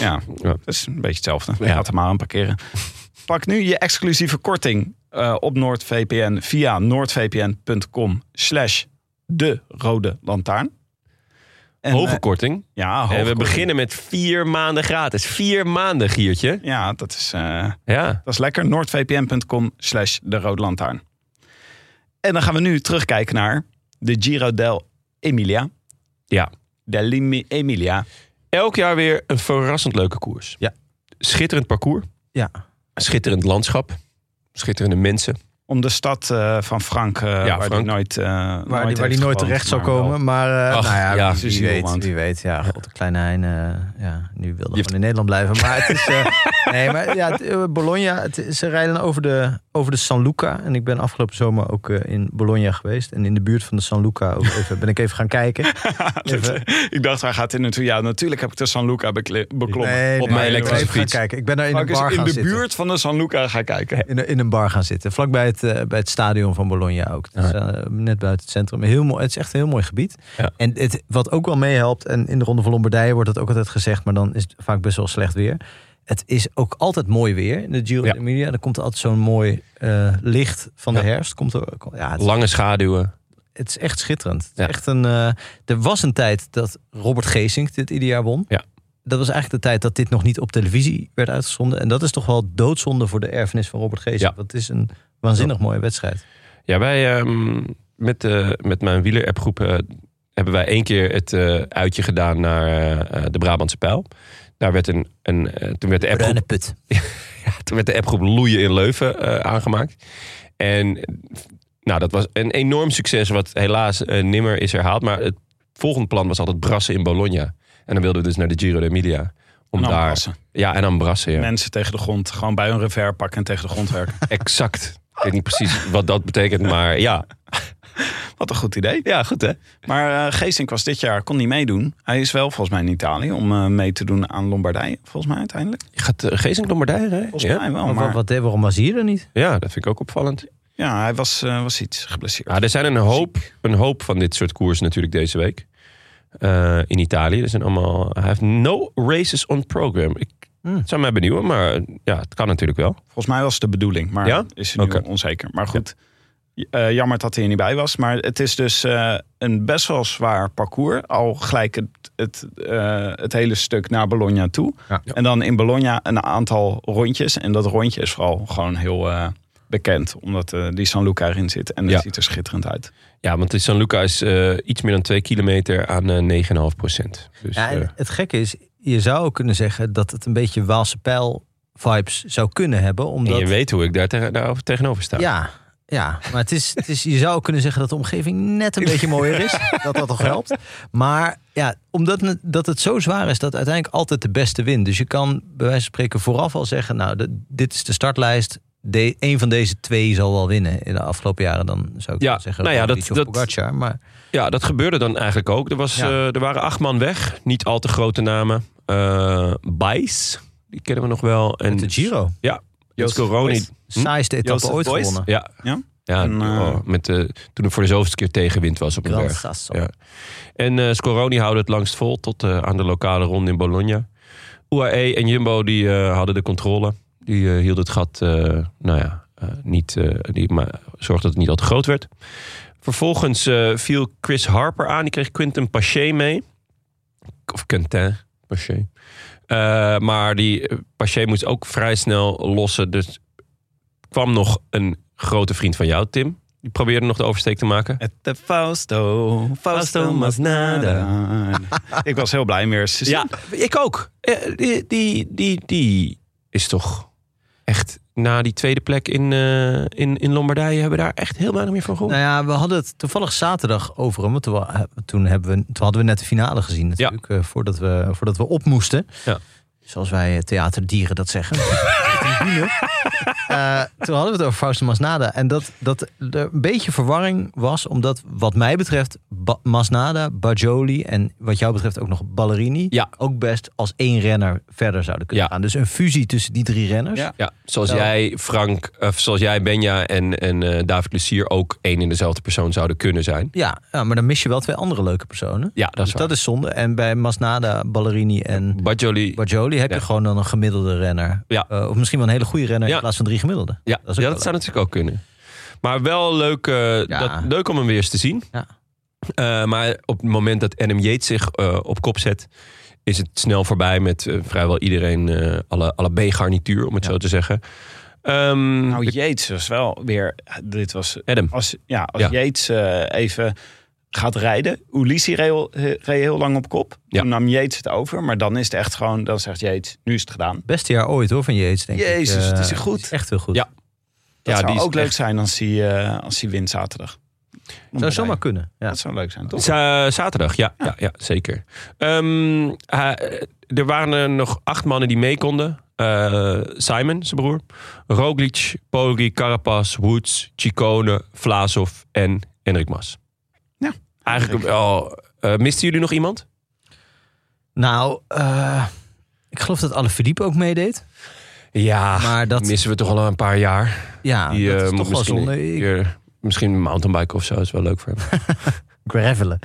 E: ja,
C: Ja.
E: dat is een beetje hetzelfde.
C: Ja.
E: Ja. Laat er maar aan parkeren. Pak nu je exclusieve korting eh, op NoordVPN via noordvpn.com slash de rode lantaarn. En,
C: Hoge
E: eh,
C: korting.
E: Ja,
C: En we
E: hoofdkorting.
C: beginnen met vier maanden gratis. Vier maanden, Giertje.
E: Ja, dat is, eh,
C: Ja.
E: dat is lekker. noordvpn.com slash de rode lantaarn. En dan gaan we nu terugkijken naar de Giro del Emilia.
C: ja.
E: Del Emilia.
C: Elk jaar weer een verrassend leuke koers.
D: Ja.
C: Schitterend parcours.
D: ja.
C: Schitterend landschap. Schitterende mensen.
E: Om de stad eh, van Frank, eh, waar die
C: Frank.
E: nooit, eh,
D: Waar, die, waar die
E: heeft
D: nooit
E: gewoond,
D: terecht zou
E: maar wel.
D: komen. Maar eh,
C: Ach,
D: nou ja,
C: ja.
D: wie,
E: Ze zien
D: weet.
E: Holland.
D: Wie weet. Ja, god, de kleine Hein. eh, ja, nu
C: heeft-
D: wilde gewoon in Nederland blijven. Maar het is... eh, nee, maar ja, het, eh, Bologna. het- ze rijden over de, over de San Luca. En ik ben afgelopen zomer ook eh, in Bologna geweest. En in de buurt van de San Luca ook even, ben ik even gaan kijken. Even-
E: ik dacht, hij gaat in natuurlijk. Ja, natuurlijk heb ik de San Luca bekli- beklommen.
D: Nee,
E: op
D: nee,
E: mijn
D: ik ben
C: elektrische
E: elektrische
D: even gaan
C: fiets.
D: kijken. Ik ben daar in
E: Maar
D: een
E: ik is
D: bar
E: in
D: gaan
E: de
D: zitten.
E: buurt van de San Luca gaan kijken.
D: In, een- in een bar gaan zitten. Vlakbij het, eh, bij het stadion van Bologna ook. Dus, eh, net buiten het centrum. Heel mooi, het is echt een heel mooi gebied.
C: Ja.
D: En het, wat ook wel meehelpt, en in de Ronde van Lombardije wordt dat ook altijd gezegd, maar dan is het vaak best wel slecht weer. Het is ook altijd mooi weer in de Giro
C: Ja.
D: d'Emilia. Dan komt er altijd zo'n mooi eh, licht van de
C: Ja.
D: herfst. Komt er, kom- ja, het, is,
C: Lange schaduwen.
D: het is echt schitterend. Het is
C: Ja.
D: echt een, eh, er was een tijd dat Robert Geesink dit ieder jaar won.
C: Ja.
D: Dat was eigenlijk de tijd dat dit nog niet op televisie werd uitgezonden. En dat is toch wel doodzonde voor de erfenis van Robert Geesink.
C: Ja.
D: Want het is een waanzinnig mooie wedstrijd.
C: Ja, wij ehm, met, de, met mijn wieler-appgroep eh, hebben wij één keer het eh, uitje gedaan naar eh, eh, de Brabantse Pijl. Daar werd een, een, eh, toen werd de appgroep
D: put.
C: Toen werd de appgroep Loeien in Leuven eh, aangemaakt. En eh, nou, dat was een enorm succes, wat helaas eh, nimmer is herhaald. Maar het volgende plan was altijd brassen in Bologna. En dan wilden we dus naar de Giro d'Emilia. Om
E: En dan
C: daar.
E: passen.
C: Ja, en dan brassen. Ja.
E: Mensen tegen de grond. Gewoon bij hun revers pakken en tegen de grond werken.
C: Exact. Ik weet niet precies wat dat betekent, maar ja.
E: Wat een goed idee.
C: Ja, goed hè?
E: Maar eh Geesink was dit jaar, kon niet meedoen. Hij is wel volgens mij in Italië om eh, mee te doen aan Lombardije. Volgens mij uiteindelijk.
C: Je gaat uh, Geesink Lombardije rijden?
E: Volgens
C: Ja?
E: mij wel.
D: maar wat,
E: Maar
D: wat, eh, waarom was hij er niet?
C: ja, dat vind ik ook opvallend.
E: ja, hij was, eh, was iets geblesseerd.
D: Ah,
C: Ja, er zijn een hoop, een hoop van dit soort koersen natuurlijk deze week. Eh, in Italië. Er zijn allemaal, hij heeft no races on program. Ik
D: Hmm.
C: zou mij benieuwen, maar ja, het kan natuurlijk wel.
E: Volgens mij was het de bedoeling, maar
C: Ja?
E: is het nu
C: Oké.
E: onzeker. Maar goed, eh, jammer dat hij er niet bij was. Maar het is dus eh, een best wel zwaar parcours. Al gelijk het, het, eh, het hele stuk naar Bologna toe.
D: Ja.
E: En dan in Bologna een aantal rondjes. En dat rondje is vooral gewoon heel eh, bekend. Omdat eh, die San Luca erin zit. En dat
C: Ja.
E: ziet er schitterend uit.
C: Ja, want de San Luca is eh, iets meer dan 2 kilometer aan eh 9,5 procent. Dus,
D: Ja, en
C: eh,
D: het gekke is, je zou ook kunnen zeggen dat het een beetje Waalse pijl vibes zou kunnen hebben.
C: en
D: Omdat,
C: je weet hoe ik daar tegen- daarover- tegenover sta.
D: ja, ja, maar het is, het is, je zou ook kunnen zeggen dat de omgeving net een beetje mooier is. Dat dat toch helpt. Maar ja, omdat het, dat het zo zwaar is dat uiteindelijk altijd de beste wint. Dus je kan bij wijze van spreken vooraf al zeggen, nou, de- dit is de startlijst. De, een van deze twee zal wel winnen in de afgelopen jaren. Dan zou ik
C: Ja,
D: zeggen,
C: nou ja,
D: Roglic
C: dat-
D: of
C: dat-
D: Pogacar, maar
C: Ja, dat gebeurde dan eigenlijk ook. Er, was,
D: Ja.
C: eh, er waren acht man weg. Niet al te grote namen. Eh Bijs, die kennen we nog wel. En
D: met de Giro.
C: Ja,
E: Joost
C: Coroni.
E: Boys.
D: Saaiste etappe
E: Jozef
D: ooit
E: Boys?
D: gewonnen.
C: Ja.
E: Ja?
C: Ja,
E: En,
C: die-
E: eh,
C: oh, met de, toen er voor de zoveelste keer tegenwind was op een
D: Gran
C: berg.
D: Sasso.
C: Ja. En eh Scoroni houden het langst vol tot eh, aan de lokale ronde in Bologna. UAE en Jumbo die eh, hadden de controle. Die eh, hielden het gat, eh, nou ja, eh, niet, eh, die ma- zorgde dat het niet al te groot werd. Vervolgens eh, viel Chris Harper aan. Die kreeg Quinten Paché mee. Of Quentin Paché. Eh, maar die eh, Paché moest ook vrij snel lossen. Dus kwam nog een grote vriend van jou, Tim. Die probeerde nog de oversteek te maken.
E: Het de Fausto,
C: Fausto Masnada.
E: Ik was heel blij meer.
C: Ja, Dus ik ook. Eh, Die, die, die, die is toch echt na die tweede plek in, eh, in, in Lombardije hebben we daar echt heel weinig meer van gehoord.
D: Nou ja, we hadden het toevallig zaterdag over hem. want Toen, wa- toen, hebben we, toen hadden we net de finale gezien natuurlijk. eh, voordat, we, voordat we op moesten.
C: Ja.
D: Zoals wij eh, theaterdieren dat zeggen. Eh, toen hadden we het over Fausto Masnada. En dat, dat er een beetje verwarring was. Omdat wat mij betreft Ba- Masnada, Bajoli en wat jou betreft ook nog Ballerini...
C: Ja.
D: ook best als één renner verder zouden kunnen
C: Ja.
D: gaan. Dus een fusie tussen die drie renners.
E: Ja.
C: Ja, zoals
D: Ja.
C: jij, Frank, of zoals jij, Benja en, en eh, David Lucier ook één in dezelfde persoon zouden kunnen zijn.
D: Ja, ja, maar dan mis je wel twee andere leuke personen.
C: Ja, dat is
D: dus
C: waar.
D: dat is zonde. En bij Masnada, Ballerini en
C: Bajoli,
D: Bargioli heb
C: Ja.
D: je gewoon dan een gemiddelde renner.
C: Ja.
D: Eh, of misschien wel een hele goede renner
C: Ja.
D: in plaats van drie gemiddelden.
C: ja,
D: dat
C: dat,
D: is ook
C: ja,
D: wel
C: dat zou natuurlijk ook kunnen. Maar wel leuk, eh,
D: Ja.
C: dat, leuk om hem weer eens te zien.
D: Ja.
C: Eh, maar op het moment dat NM Yates zich eh, op kop zet, is het snel voorbij met eh, vrijwel iedereen, eh, alle, alle B-garnituur, om het
D: Ja.
C: zo te zeggen. Ehm,
E: Nou,
C: de-
E: Jeets was wel weer. Dit was
C: Adam.
E: als, ja, als
C: Ja.
E: Yates eh, even gaat rijden. Ulissi reed, heel- reed heel lang op kop.
C: Ja.
E: Toen nam Yates het over. Maar dan is het echt gewoon, dan zegt Yates, nu is het gedaan.
D: Beste jaar ooit hoor van Jeets, denk ik.
E: Jezus,
D: Eh,
E: het is goed.
D: het is echt heel goed.
C: Ja.
E: Dat
C: Ja,
E: zou
C: die is
E: ook leuk
C: echt-
E: zijn als hij, eh, als hij wint zaterdag.
D: Zou zomaar kunnen. Ja.
E: Dat zou leuk zijn, toch?
C: Za- zaterdag, ja, eh, ja. ja, zeker. Ehm, hij- er waren er nog acht mannen die mee konden. eh, Simon, zijn broer. Roglic, Poggi, Carapaz, Woods, Chicone, Vlasov en Enrik Mas.
E: Ja.
C: Eigenlijk, oh, eh, misten jullie nog iemand?
D: Nou, eh, ik geloof dat alle Philippe ook meedeed.
C: Ja,
D: Maar dat,
C: missen we toch al een paar jaar.
D: ja,
C: Ah, Die
D: dat
C: eh,
D: is
C: moet
D: toch wel
C: misschien
D: zonde.
C: een
D: Ik-
C: keer- Misschien een mountainbike of zo is wel leuk voor hem.
D: gravelen.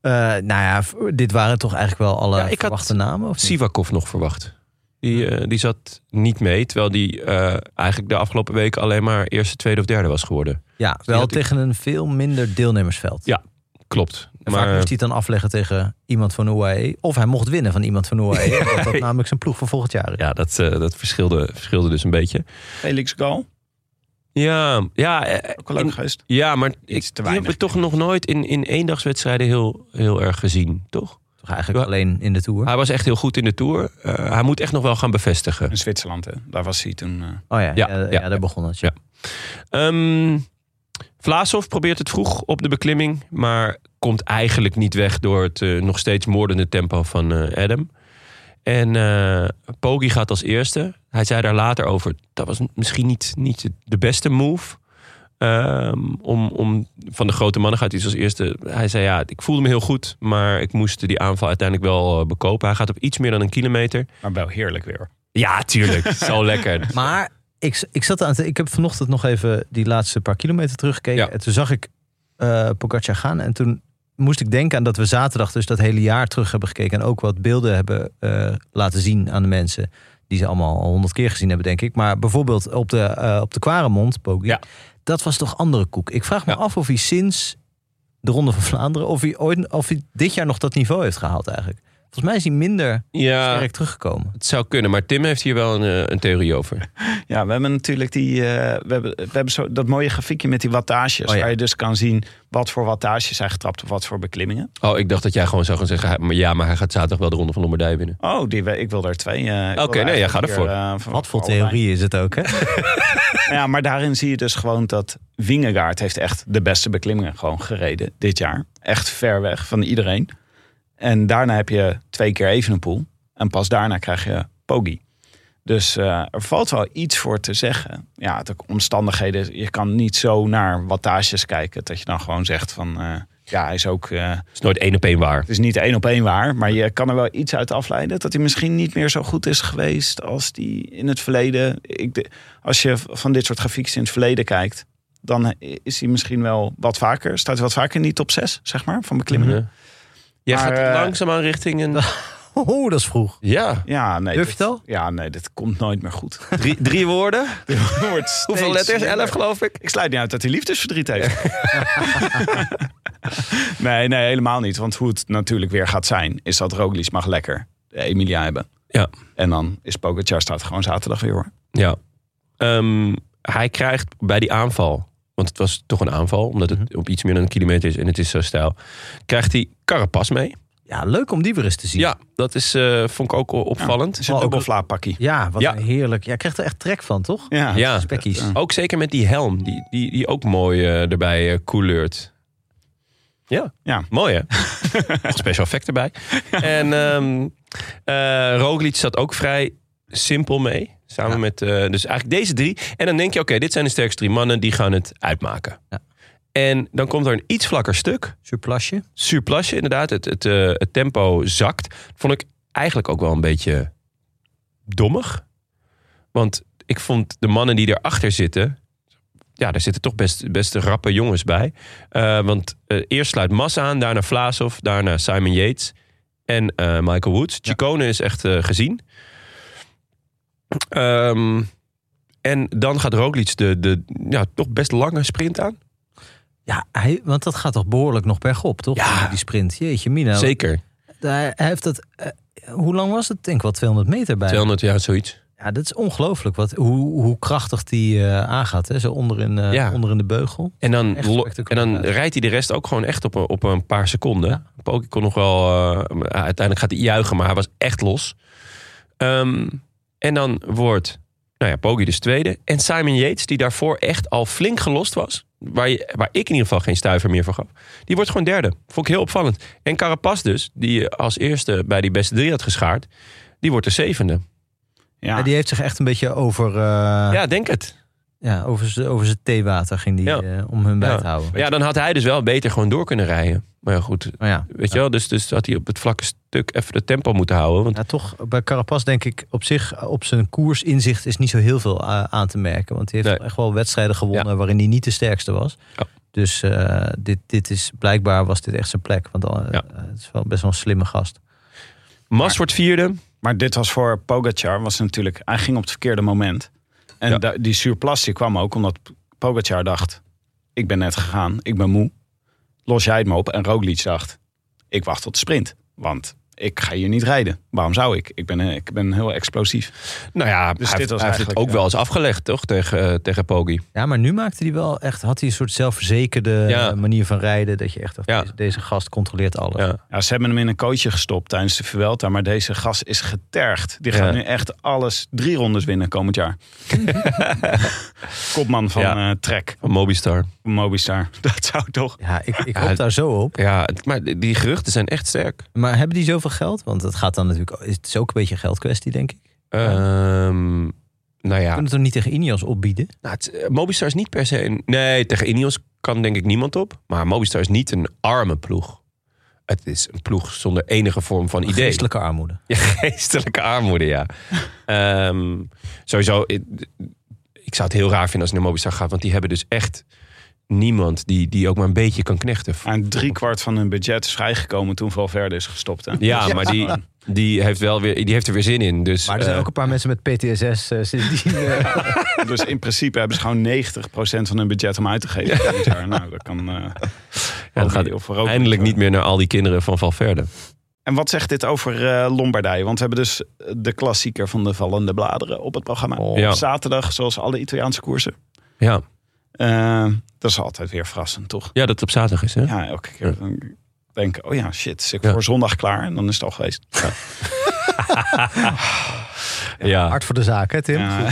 D: Eh, nou ja, v- dit waren toch eigenlijk wel alle
C: Ja, ik had
D: verwachte namen? Of niet?
C: Sivakov nog verwacht. Die, eh, die zat niet mee, terwijl die eh, eigenlijk de afgelopen weken alleen maar eerste, tweede of derde was geworden.
D: Ja,
C: die
D: wel
C: had ik-
D: tegen een veel minder deelnemersveld.
C: Ja, Klopt.
D: En vaak moest hij het dan afleggen tegen iemand van UAE. Of hij mocht winnen van iemand van UAE. omdat dat namelijk zijn ploeg van volgend jaar is.
C: ja, dat, eh, dat verschilde, verschilde dus een beetje.
E: Felix Gal,
C: Ja, ja, eh,
E: ook een leuk
C: in-
E: geest.
C: ja maar ik,
E: Iets te
C: die heb
E: weinig.
C: ik toch nog nooit in, in eendagswedstrijden heel, heel erg gezien, toch?
D: Toch eigenlijk
C: Ja. Ah,
D: alleen in de Tour.
C: Hij was echt heel goed in de Tour. Eh, hij moet echt nog wel gaan bevestigen.
E: In Zwitserland, hè? daar was hij toen. eh,
D: Oh ja, ja,
C: Ja,
D: ja,
C: ja.
D: daar begon het. Ja.
C: Ehm Vlaashoff probeert het vroeg op de beklimming, maar komt eigenlijk niet weg door het eh, nog steeds moordende tempo van eh, Adam. En eh Poggi gaat als eerste. Hij zei daar later over, dat was misschien niet, niet de beste move. Ehm, om, om, van de grote mannen gaat hij dus als eerste. Hij zei ja, ik voelde me heel goed, maar ik moest die aanval uiteindelijk wel eh, bekopen. Hij gaat op iets meer dan een kilometer.
E: maar wel heerlijk weer.
C: Ja, tuurlijk. Zo lekker.
D: Maar ik, ik zat aan het, ik heb vanochtend nog even die laatste paar kilometer teruggekeken.
C: Ja.
D: En toen zag ik eh Pogacar gaan. En toen moest ik denken aan dat we zaterdag dus dat hele jaar terug hebben gekeken. En ook wat beelden hebben eh, laten zien aan de mensen. Die ze allemaal al honderd keer gezien hebben, denk ik. Maar bijvoorbeeld op de, eh op de Quaremont, Poggi.
C: Ja.
D: Dat was toch andere koek. Ik vraag me
C: Ja.
D: af of hij sinds de Ronde van Vlaanderen... Of hij, ooit, of hij dit jaar nog dat niveau heeft gehaald eigenlijk. Volgens mij is hij minder
C: Ja,
D: sterk teruggekomen.
C: het zou kunnen. Maar Tim heeft hier wel een, eh, een theorie over.
E: Ja, we hebben natuurlijk die, eh, we hebben, we hebben zo, dat mooie grafiekje met die wattages.
D: Oh ja.
E: Waar je dus kan zien wat voor wattages hij getrapt of wat voor beklimmingen.
C: Oh, ik dacht dat jij gewoon zou gaan zeggen... hij- maar ja, maar hij gaat zaterdag wel de Ronde van Lombardije winnen.
E: Oh, die, we- ik wil er twee. eh, ik wil
C: Oké,
E: er
C: nee, ja,
E: eigenlijk
C: ga
E: een keer,
C: ervoor.
E: eh, van-
D: Wat voor
E: van allebei.
D: theorie is het ook, hè?
E: Ja, maar daarin zie je dus gewoon dat Wingegaard heeft echt de beste beklimmingen gewoon gereden dit jaar. Echt ver weg van iedereen. En daarna heb je twee keer Evenepoel. En pas daarna krijg je Poggi. Dus eh, er valt wel iets voor te zeggen. Ja, de omstandigheden. Je kan niet zo naar wattages kijken dat je dan gewoon zegt van... eh, ja, hij is ook... eh,
C: Het is nooit één op één waar.
E: het is niet één op één waar, maar je kan er wel iets uit afleiden. Dat hij misschien niet meer zo goed is geweest als die in het verleden. Ik de- als je van dit soort grafiekjes in het verleden kijkt, dan is hij misschien wel wat vaker. Staat hij wat vaker in die top 6, zeg maar, van beklimmingen.
C: Ja. Jij
E: Maar,
C: gaat
E: eh,
C: langzaamaan richting een...
D: Oh, dat is vroeg.
C: Ja,
E: Ja, nee.
D: Durf je
E: dit-
D: het al?
E: Ja, nee, dit komt nooit meer goed.
C: drie, drie woorden.
E: Het wordt steeds
C: Hoeveel letters?
E: minder.
C: Elf, geloof ik.
E: Ik sluit niet uit dat hij liefdesverdriet heeft. nee, nee, helemaal niet. Want hoe het natuurlijk weer gaat zijn, is dat Roglic mag lekker Emilia hebben.
C: Ja.
E: En dan is Pogacar staat gewoon zaterdag weer hoor.
C: Ja. Ehm, hij krijgt bij die aanval... Want het was toch een aanval, omdat
E: Mhm.
C: het op iets meer dan een kilometer is en het is zo stijl. Krijgt hij Carapas mee?
D: Ja, leuk om die weer eens te zien.
C: Ja, dat is, eh, vond ik ook opvallend.
E: Het is een
D: Oh, ook-
E: dubbelflaappakkie.
D: Ja, wat
C: Ja.
D: een heerlijk. Jij krijgt er echt trek van, toch?
E: Ja.
C: Ja,
D: Spekkies.
E: dat,
C: ook zeker met die helm, die, die, die ook mooi eh, erbij eh couleurt. Ja,
E: Ja.
C: mooi hè? Nog special effect erbij. En ehm eh, Roglic zat ook vrij simpel mee. Samen
D: Ja.
C: met, eh, dus eigenlijk deze drie. En dan denk je, oké, dit zijn de sterkste drie mannen, die gaan het uitmaken.
D: Ja.
C: En dan komt er een iets vlakker stuk
D: Surplasje.
C: surplusje inderdaad. Het, het, eh, het tempo zakt. Vond ik eigenlijk ook wel een beetje dommig. Want ik vond de mannen die erachter zitten... Ja, daar zitten toch best, best rappe jongens bij. Eh, want eh, eerst sluit Mas aan, daarna Vlaasov, daarna Simon Yates en eh, Michael Woods. Chicone is echt eh, gezien. Ehm, en dan gaat Roglic de, de ja, toch best lange sprint aan.
D: Ja, hij, want dat gaat toch behoorlijk nog bergop, toch?
C: Ja.
D: Die sprint. Jeetje, Mina.
C: Zeker.
D: Hij, hij heeft dat... eh, hoe lang was het? Ik Denk wel 200 meter bij.
C: 200 jaar, zoiets.
D: Ja, dat is ongelooflijk. Wat, hoe, hoe krachtig die eh, aangaat, hè? Zo onderin, eh
C: Ja.
D: onderin de beugel.
C: En dan,
D: Echt
C: lo- en
D: spectaculair.
C: dan rijdt hij de rest ook gewoon echt op een, op een paar seconden.
D: Ja.
C: Poki kon nog wel... eh, uiteindelijk gaat hij juichen, maar hij was echt los. Ehm, en dan wordt... Nou ja, Pogi dus tweede. En Simon Yates, die daarvoor echt al flink gelost was. Waar, je, waar ik in ieder geval geen stuiver meer voor gaf. Die wordt gewoon derde. Vond ik heel opvallend. En Carapaz dus, die als eerste bij die beste drie had geschaard. Die wordt de zevende.
E: Ja.
D: Ja, die heeft zich echt een beetje over, eh, ja.
C: Ja, denk het.
D: over, z'n- over zijn theewater ging die
C: Ja.
D: eh, om hun bij
C: Ja.
D: te houden.
C: Ja, dan had hij dus wel beter gewoon door kunnen rijden. Maar ja, goed,
D: Maar ja.
C: weet je wel, dus, dus had hij op het vlakke stuk even de tempo moeten houden. Want
D: Ja, Nou, toch bij Carapaz denk ik op zich eh, op zijn koersinzicht is niet zo heel veel eh, aan te merken. Want hij heeft
C: Nee.
D: echt wel wedstrijden gewonnen waarin hij niet de sterkste was.
C: Ja.
D: Dus eh, dit, dit is blijkbaar was dit echt zijn plek. Want dan, eh,
C: Ja.
D: het is wel best wel een slimme gast.
C: Mas wordt vierde.
E: Maar dit was voor Pogacar, was natuurlijk, hij ging op het verkeerde moment. En
C: Ja.
E: da- die surplastie kwam ook omdat Pogacar dacht, ik ben net gegaan, ik ben moe. Los jij het me op. En Roglic dacht, ik wacht tot de sprint. Want ik ga hier niet rijden. Waarom zou ik? Ik ben, eh, ik ben heel explosief.
C: Nou ja,
E: Dus
C: hij,
E: dit was
C: hij heeft het
E: eigenlijk,
C: ook
E: ja.
C: wel eens afgelegd, toch? Tegen, eh, tegen Poggi.
D: Ja, maar nu maakte hij wel echt, had hij een soort zelfverzekerde
C: Ja.
D: eh, manier van rijden. Dat je echt dacht,
C: Ja.
D: deze, deze gast controleert alles.
C: Ja.
E: Ja, ze hebben hem in een coachje gestopt tijdens de Vuelta. Maar deze gas is getergd. Die gaat
C: Ja.
E: nu echt alles drie rondes winnen komend jaar. Kopman van
C: Ja.
E: eh, Trek,
C: Van Mobistar.
E: Mobistar. Dat zou toch...
D: Ja, ik, ik
C: Ja,
D: hoop
C: het-
D: daar zo op.
C: Ja, het- maar die die geruchten zijn echt sterk.
D: Maar hebben die zoveel geld? Want het gaat dan natuurlijk, het is ook een beetje een geldkwestie denk ik.
C: Ehm, nou ja,
D: Kunnen we het hem niet tegen Ineos opbieden?
C: nou, het- eh, Mobistar is niet per se een... Nee, tegen Ineos kan denk ik niemand op. Maar Mobistar is niet een arme ploeg. Het is een ploeg zonder enige vorm van idee.
D: Geestelijke armoede.
C: Ja, geestelijke armoede, ja. Ehm, sowieso, ik, ik zou het heel raar vinden als het naar Mobistar gaat. Want die hebben dus echt niemand die, die ook maar een beetje kan knechten.
E: En driekwart van hun budget is vrijgekomen toen Valverde is gestopt. Hè? Dus-
C: Ja, maar die, die, heeft wel weer, die heeft er weer zin in. Dus,
D: Maar er zijn
C: eh,
D: ook een paar mensen met PTSS eh, sindsdien. eh,
E: Dus in principe hebben ze gewoon 90% van hun budget om uit te geven. dit jaar. Nou, dat kan. eh,
C: ja, dat gaat
E: Roglic of Roglic
C: eindelijk
E: worden.
C: niet meer naar al die kinderen van Valverde.
E: En wat zegt dit over eh, Lombardij? Want we hebben dus de klassieker van de vallende bladeren op het programma. Op
C: Oh. Ja.
E: zaterdag, zoals alle Italiaanse koersen.
C: Ja.
E: Eh, dat is altijd weer verrassend, toch?
C: ja, dat het op zaterdag is, hè?
E: Ja, elke keer dan denk ik, oh ja, shit, is ik
C: Ja.
E: voor zondag klaar? En dan is het al geweest.
C: Ja.
D: Hard voor de zaak, hè Tim?
E: Ja.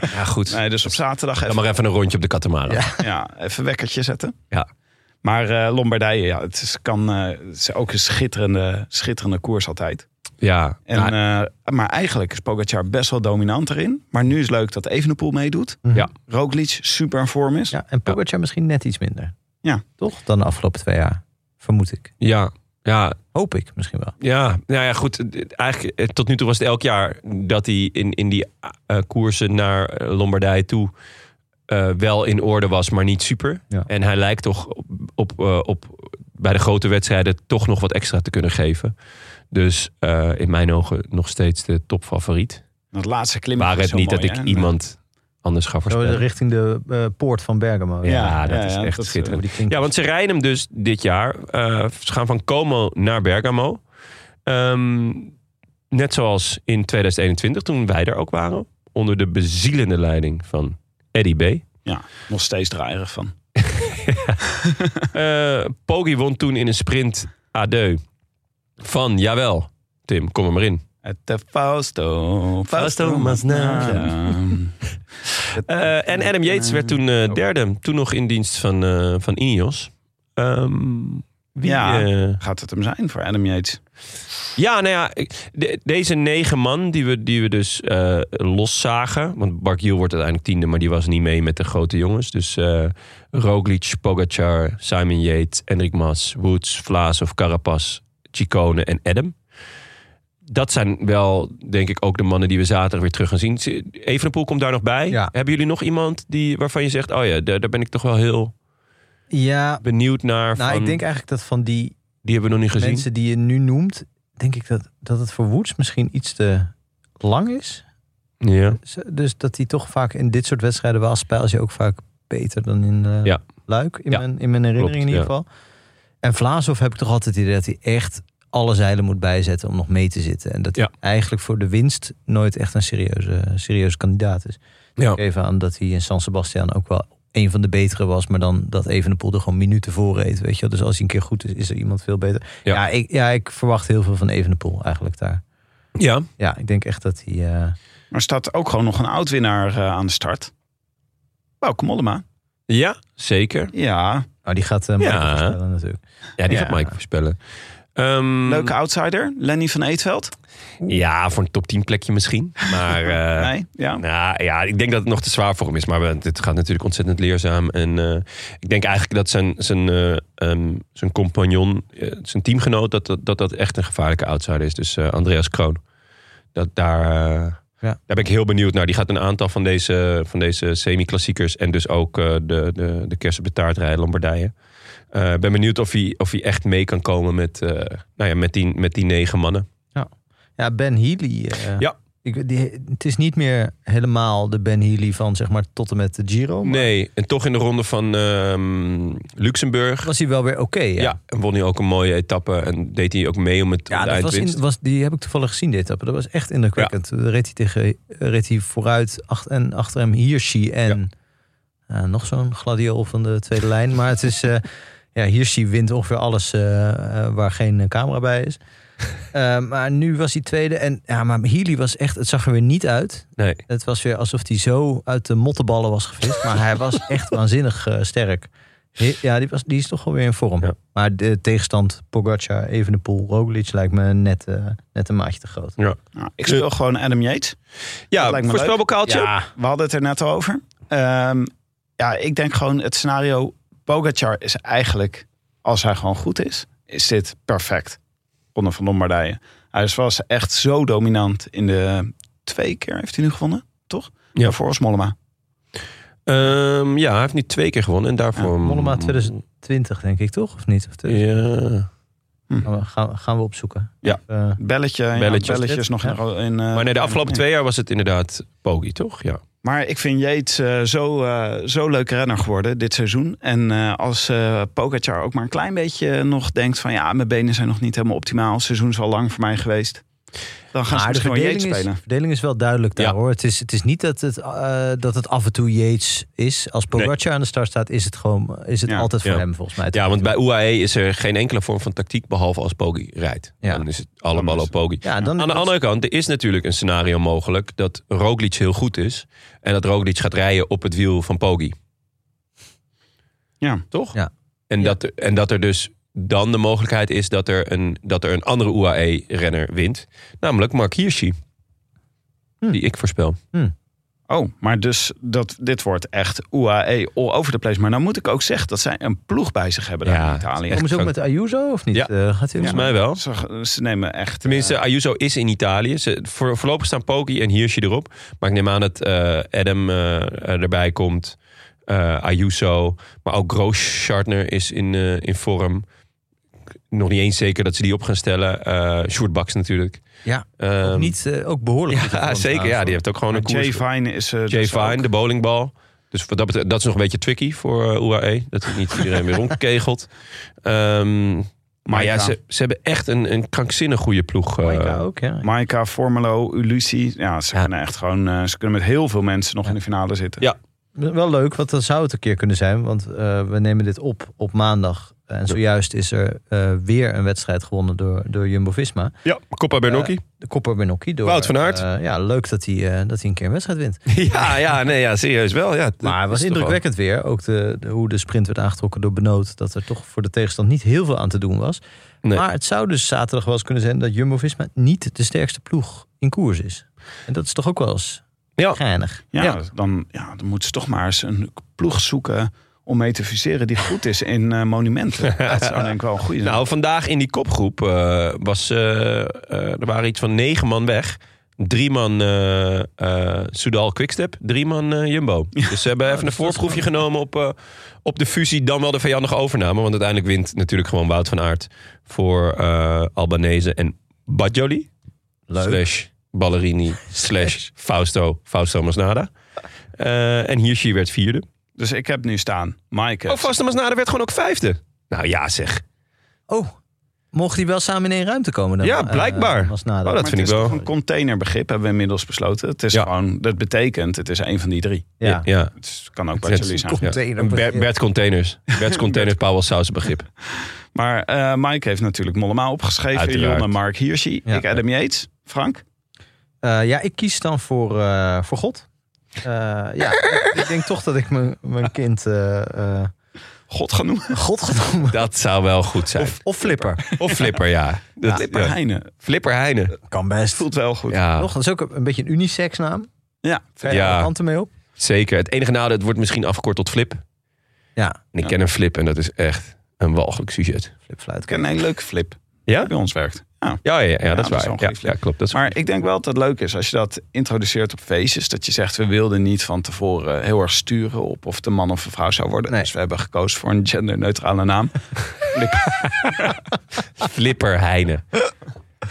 C: Ja, goed.
E: Eh, nee, dus op zaterdag
C: Dan
E: even,
C: maar even een rondje op de katamaran.
D: Ja.
E: ja, even wekkertje zetten.
C: Ja.
E: Maar eh Lombardije, ja, het is, kan, eh, het is ook een schitterende, schitterende koers altijd.
C: Ja.
E: En,
C: Nou,
E: eh, maar eigenlijk is Pogacar best wel dominant erin. Maar nu is het leuk dat Evenepoel meedoet.
D: Mhm.
C: Ja.
E: Roglic super in vorm is.
D: Ja, en Pogacar misschien net iets minder.
E: Ja.
D: Toch? Dan de afgelopen twee jaar. Vermoed ik.
C: ja. Ja,
D: Hoop ik misschien wel.
C: ja, nou ja, goed. eh, Eigenlijk, eh, tot nu toe was het elk jaar dat hij in, in die eh, koersen naar eh, Lombardije toe eh, wel in orde was, maar niet super.
D: Ja.
C: En hij lijkt toch op, op, eh, op, bij de grote wedstrijden toch nog wat extra te kunnen geven. Dus eh, in mijn ogen nog steeds de topfavoriet.
E: Dat laatste klimmen
C: Waar
E: is
C: het
E: zo
C: niet
E: mooi,
C: dat ik
E: hè?
C: iemand anders ga
D: Zo
C: voorspellen.
D: richting de eh, poort van Bergamo.
C: Ja,
E: Ja,
C: dat
E: ja,
C: is
E: ja,
C: echt
E: dat is,
C: schitterend.
D: Over die klink-
C: Ja, want ze rijden hem dus dit jaar. Eh, ze gaan van Como naar Bergamo. Ehm, net zoals in 2021, toen wij daar ook waren. Onder de bezielende leiding van Eddie B.
E: Ja, nog steeds draaierig van.
C: Eh Poggi won toen in een sprint adieu. Van, jawel, Tim, kom er maar in.
E: Het de Fausto.
C: Fausto Masnada. Eh, en Adam Yates werd toen eh, derde. Toen nog in dienst van, eh van Ineos. Ehm, wie,
E: Ja.
C: eh,
E: Gaat het hem zijn voor Adam Yates?
C: Ja, nou ja, ik- de- deze negen man die we, die we dus eh loszagen. Want Barguil wordt uiteindelijk tiende, maar die was niet mee met de grote jongens. Dus eh Roglic, Pogacar, Simon Yates, Enric Mas, Woods, Vlaas of Carapaz, Chicone en Adam. Dat zijn wel, denk ik, ook de mannen die we zaterdag weer terug gaan zien. Ze- Evenepoel komt daar nog bij.
D: Ja.
C: Hebben jullie nog iemand die, waarvan je zegt... oh ja, daar, daar ben ik toch wel heel
D: ja
C: benieuwd naar.
D: nou,
C: van-
D: ik denk eigenlijk dat van die
C: die hebben we nog niet gezien.
D: mensen die je nu noemt... denk ik dat, dat het voor Woods misschien iets te lang is.
C: Ja.
D: Z- Dus dat hij toch vaak in dit soort wedstrijden... wel spijl je ook vaak beter dan in eh,
C: Ja.
D: Luik. In,
C: Ja.
D: mijn, in mijn herinnering
C: Klopt,
D: in ieder geval. En Vlaashoff heb ik toch altijd het idee dat hij echt alle zeilen moet bijzetten om nog mee te zitten. En dat
C: Ja.
D: hij eigenlijk voor de winst nooit echt een serieuze, serieuze kandidaat is.
C: Ja.
D: Even aan dat hij in San Sebastian ook wel een van de betere was, maar dan dat Evenepoel er gewoon minuten voor reed, weet je wel. Dus als hij een keer goed is, is er iemand veel beter.
C: Ja.
D: Ja, ik, ja ik verwacht heel veel van Evenepoel eigenlijk daar.
C: ja.
D: Ja, ik denk echt dat hij... eh,
E: Maar staat ook gewoon nog een oud-winnaar eh, aan de start. Bauke Mollema.
C: Ja, zeker.
E: Ja, Mm.
D: nou, die gaat eh Michael
C: Ja.
D: voorspellen natuurlijk.
C: Ja, die
E: Ja.
C: gaat Mike voorspellen. Ehm,
E: Leuke outsider, Lenny van Eetveld.
C: Ja, voor een top 10 plekje misschien. Maar eh,
E: nee, ja.
C: Nou ja, ik denk dat het nog te zwaar voor hem is. Maar we- dit gaat natuurlijk ontzettend leerzaam. En eh, ik denk eigenlijk dat zijn, zijn, eh, ehm, zijn compagnon, eh, zijn teamgenoot, dat dat, dat dat echt een gevaarlijke outsider is. Dus eh, Andreas Kroon. Dat daar, eh, daar ben ik heel benieuwd naar. Die gaat een aantal van deze, van deze semi-klassiekers en dus ook eh, de, de, de kersen betaardrijden Lombardije. Eh ben benieuwd of hij, of hij echt mee kan komen met, eh, nou ja, met, die, met die negen mannen.
D: Ja, Ben Healy. eh,
C: Ja.
D: Ik, die, het is niet meer helemaal de Ben Healy van zeg maar tot en met de Giro. Maar
C: Nee, en toch in de ronde van ehm, Luxemburg.
D: was hij wel weer oké.
C: Ja.
D: ja.
C: en won hij ook een mooie etappe. En deed hij ook mee om het om
D: Ja,
C: de
D: dat was
C: eindwinst.
D: in, was, die heb ik toevallig gezien, dit etappe. Dat was echt indrukwekkend. Daar reed hij, tegen, reed hij vooruit ach- en achter hem Hirschi en eh, nog zo'n gladiool van de tweede lijn. Maar het is, eh ja, Hirschi wint ongeveer alles eh, eh, waar geen eh, camera bij is. Eh, maar nu was hij tweede. En ja, maar Healy was echt, het zag er weer niet uit.
C: Nee.
D: Het was weer alsof hij zo uit de mottenballen was gevist. Maar hij was echt waanzinnig eh, sterk. He- Ja, die, was, die is toch wel weer in vorm.
C: Ja.
D: Maar de tegenstand Pogacar, Evenepoel, Roglic lijkt me net, eh, net een maatje te groot.
E: Nou, ik speel gewoon Adam Yates.
C: Ja,
E: Dat lijkt me leuk.
C: voorspelbokaaltje.
E: Ja, we hadden het er net al over. Ehm, ja, ik denk gewoon het scenario Pogacar is eigenlijk, als hij gewoon goed is, is dit perfect. Ronde van Lombardije. Hij is- was echt zo dominant in de twee keer heeft hij nu gewonnen, toch?
C: Ja.
E: Daarvoor was Mollema.
C: Ehm, ja, hij heeft nu twee keer gewonnen. En daarvoor...
D: Mollema 2020 denk ik toch? Of niet? Of te-
C: Ja.
D: gaan, we, gaan, we- gaan we opzoeken.
E: Ja.
D: Eh,
E: Belletje, ja,
C: Belletje.
E: belletjes nog
D: Ja.
E: in. in, eh,
C: Maar nee, de
E: in-
C: afgelopen twee jaar was het inderdaad Poggi, toch? Ja.
E: Maar ik vind Yates eh, zo, eh, zo leuk renner geworden dit seizoen. En eh, als eh Pogacar ook maar een klein beetje nog denkt van... ja, mijn benen zijn nog niet helemaal optimaal. Het seizoen is al lang voor mij geweest. Dan gaan
D: maar
E: ze
D: de
E: misschien wel Yates
D: verdeling is,
E: spelen.
D: de verdeling is wel duidelijk daar
C: Ja.
D: hoor. Het is, het is niet dat het, eh, dat het af en toe Yates is. Als Pogacar aan de start staat, is het, gewoon, is het
E: Ja.
D: altijd voor
C: Ja.
D: hem volgens mij.
C: ja, want bij UAE is er geen enkele vorm van tactiek behalve als Poggi rijdt.
D: Ja.
C: Dan is het alle
E: Dan
C: ballen
E: is-
C: op Poggi.
D: Ja, dan
C: Aan de andere kant, er is natuurlijk een scenario mogelijk dat Roglic heel goed is. En dat Roglic gaat rijden op het wiel van Poggi.
E: Ja.
C: Toch?
D: Ja.
C: En,
D: Ja.
C: Dat, en dat er dus dan de mogelijkheid is dat er een, dat er een andere UAE-renner wint. Namelijk Mark Hirschi.
D: Hm.
C: Die ik voorspel.
E: Oh, maar dus dat, dit wordt echt UAE all over the place. Maar dan moet ik ook zeggen dat zij een ploeg bij zich hebben daar
C: Ja,
E: in Italië.
C: echt
D: Komen ze ook
C: zo-
D: met Ayuso of niet?
C: Ja.
D: Eh, gaat hij
E: Ja.
C: Volgens
D: ook
C: mij wel.
E: Ze, ze nemen echt...
C: Tenminste,
E: eh,
C: Ayuso is in Italië. Ze, voor, voorlopig staan Poki en Hirschi erop. Maar ik neem aan dat eh, Adam eh, eh, erbij komt. Eh, Ayuso. Maar ook Grooschartner is in, eh, in vorm. Nog niet eens zeker dat ze die op gaan stellen. Eh Sjoerd Baks natuurlijk.
D: Ja,
C: Ehm,
D: Ook niet, eh, ook behoorlijk. goed
C: Ja,
D: gevormd
C: zeker. Ja, die
D: trouwens,
C: heeft ook gewoon een koers.
E: Jay Vine is... eh,
C: Jay
E: dus ook-
C: Vine, de bowlingbal. Dus wat dat, betreft, dat is nog een beetje tricky voor eh, UAE. Dat hij niet iedereen weer rondkegelt. Ehm, maar ja,
E: Maika.
C: ze, ze hebben echt een, een krankzinnig goede ploeg. eh.
D: hoor. Maika ook, ja.
E: Maika, Formelo, Ulissi. Ja, ze
C: Ja.
E: kunnen echt gewoon... eh, ze kunnen met heel veel mensen nog in de finale zitten.
C: Ja.
D: Wel leuk, want dan zou het een keer kunnen zijn. Want eh, we nemen dit op op maandag. En zojuist is er eh, weer een wedstrijd gewonnen door, door Jumbo-Visma. Eh,
C: Ja, Coppa Bernocchi.
D: De kopper Benocchi. Door,
C: Wout van Aert.
D: eh, ja, leuk dat hij, eh, dat hij een keer een wedstrijd wint.
C: Eh, ja, ja, nee, ja, serieus wel. Ja, Dat
D: Maar het was
C: is toch wel-
D: indrukwekkend weer. Ook de, de- hoe de sprint werd aangetrokken door Benoot. Dat er toch voor de tegenstand niet heel veel aan te doen was.
C: Nee.
D: Maar het zou dus zaterdag wel eens kunnen zijn dat Jumbo-Visma niet de sterkste ploeg in koers is. En dat is toch ook wel eens
C: Ja.
D: geinig.
E: Ja,
C: Ja.
E: Dan, ja, dan moeten ze toch maar eens een ploeg zoeken om mee te fuseren die goed is in eh, monumenten. Dat zou denk ik wel een goede zijn.
C: Nou, vandaag in die kopgroep eh, was, eh, eh, er waren iets van negen man weg. Drie man eh eh Soudal Quickstep, drie man eh, Jumbo. Dus ze hebben even een voorproefje genomen op, eh, op de fusie, dan wel de vijandige overname. Want uiteindelijk wint natuurlijk gewoon Wout van Aert voor eh Albanese en Badjoli. Slash Ballerini, slash Fausto, Fausto Masnada. Eh, en Hirschi werd vierde.
E: dus ik heb nu staan, Maaike.
C: Oh, Fausto Masnada werd gewoon ook vijfde. Nou ja zeg.
D: Oh, mocht die wel samen in één ruimte komen dan?
C: Ja,
D: Eh,
C: blijkbaar.
D: als nadeel.
C: Oh, dat
E: Maar
C: vind ik
E: het is
C: wel.
E: toch een containerbegrip, hebben we inmiddels besloten. Het is
C: Ja.
E: gewoon, dat betekent, het is een van die drie.
D: ja.
C: ja.
E: Het is- kan ook
C: Het is-
E: Bartoli zijn.
D: komt- Container-
C: Een Ber- Bert Containers. Bert Containers, Paul Sausen begrip.
E: Maar eh Mike heeft natuurlijk Mollema opgeschreven.
C: Uiteraard.
E: Jonne, Mark Hirschi.
D: Ja.
E: ik Adam Yates. Frank.
D: Eh, ja, ik kies dan voor, eh, voor God. Eh, ja, ik denk toch dat ik mijn, mijn kind eh, eh,
E: God genoemd.
D: Godgenomen.
C: Dat zou wel goed zijn.
D: Of, of Flipper.
C: Of Flipper, ja. Dat,
E: Flipper
C: ja.
E: Heine.
C: Flipper Heine.
D: Kan best.
E: Voelt wel goed.
C: Ja,
D: Nog, dat is ook een beetje een unisex naam.
E: Ja.
D: Ver
C: Ja.
D: ja. kanten mee op.
C: zeker. Het enige nadeel, het wordt misschien afgekort tot Flip.
D: Ja,
C: En ik ken een Flip en dat is echt een walgelijk sujet.
D: flipfluit.
E: Ik ken een hele leuke flip
C: Ja?
E: die bij ons werkt. Ja.
C: Ja, ja, ja, dat is
E: dat is
C: waar.
E: wel een
C: ja,
E: goede Flip.
C: ja, klopt. Dat is
E: Maar ik denk wel dat het leuk is als je dat introduceert op feestjes. Dat je zegt, we wilden niet van tevoren heel erg sturen op of de man of de vrouw zou worden.
D: Nee.
E: Dus we hebben gekozen voor een genderneutrale naam.
C: Flipper Heine.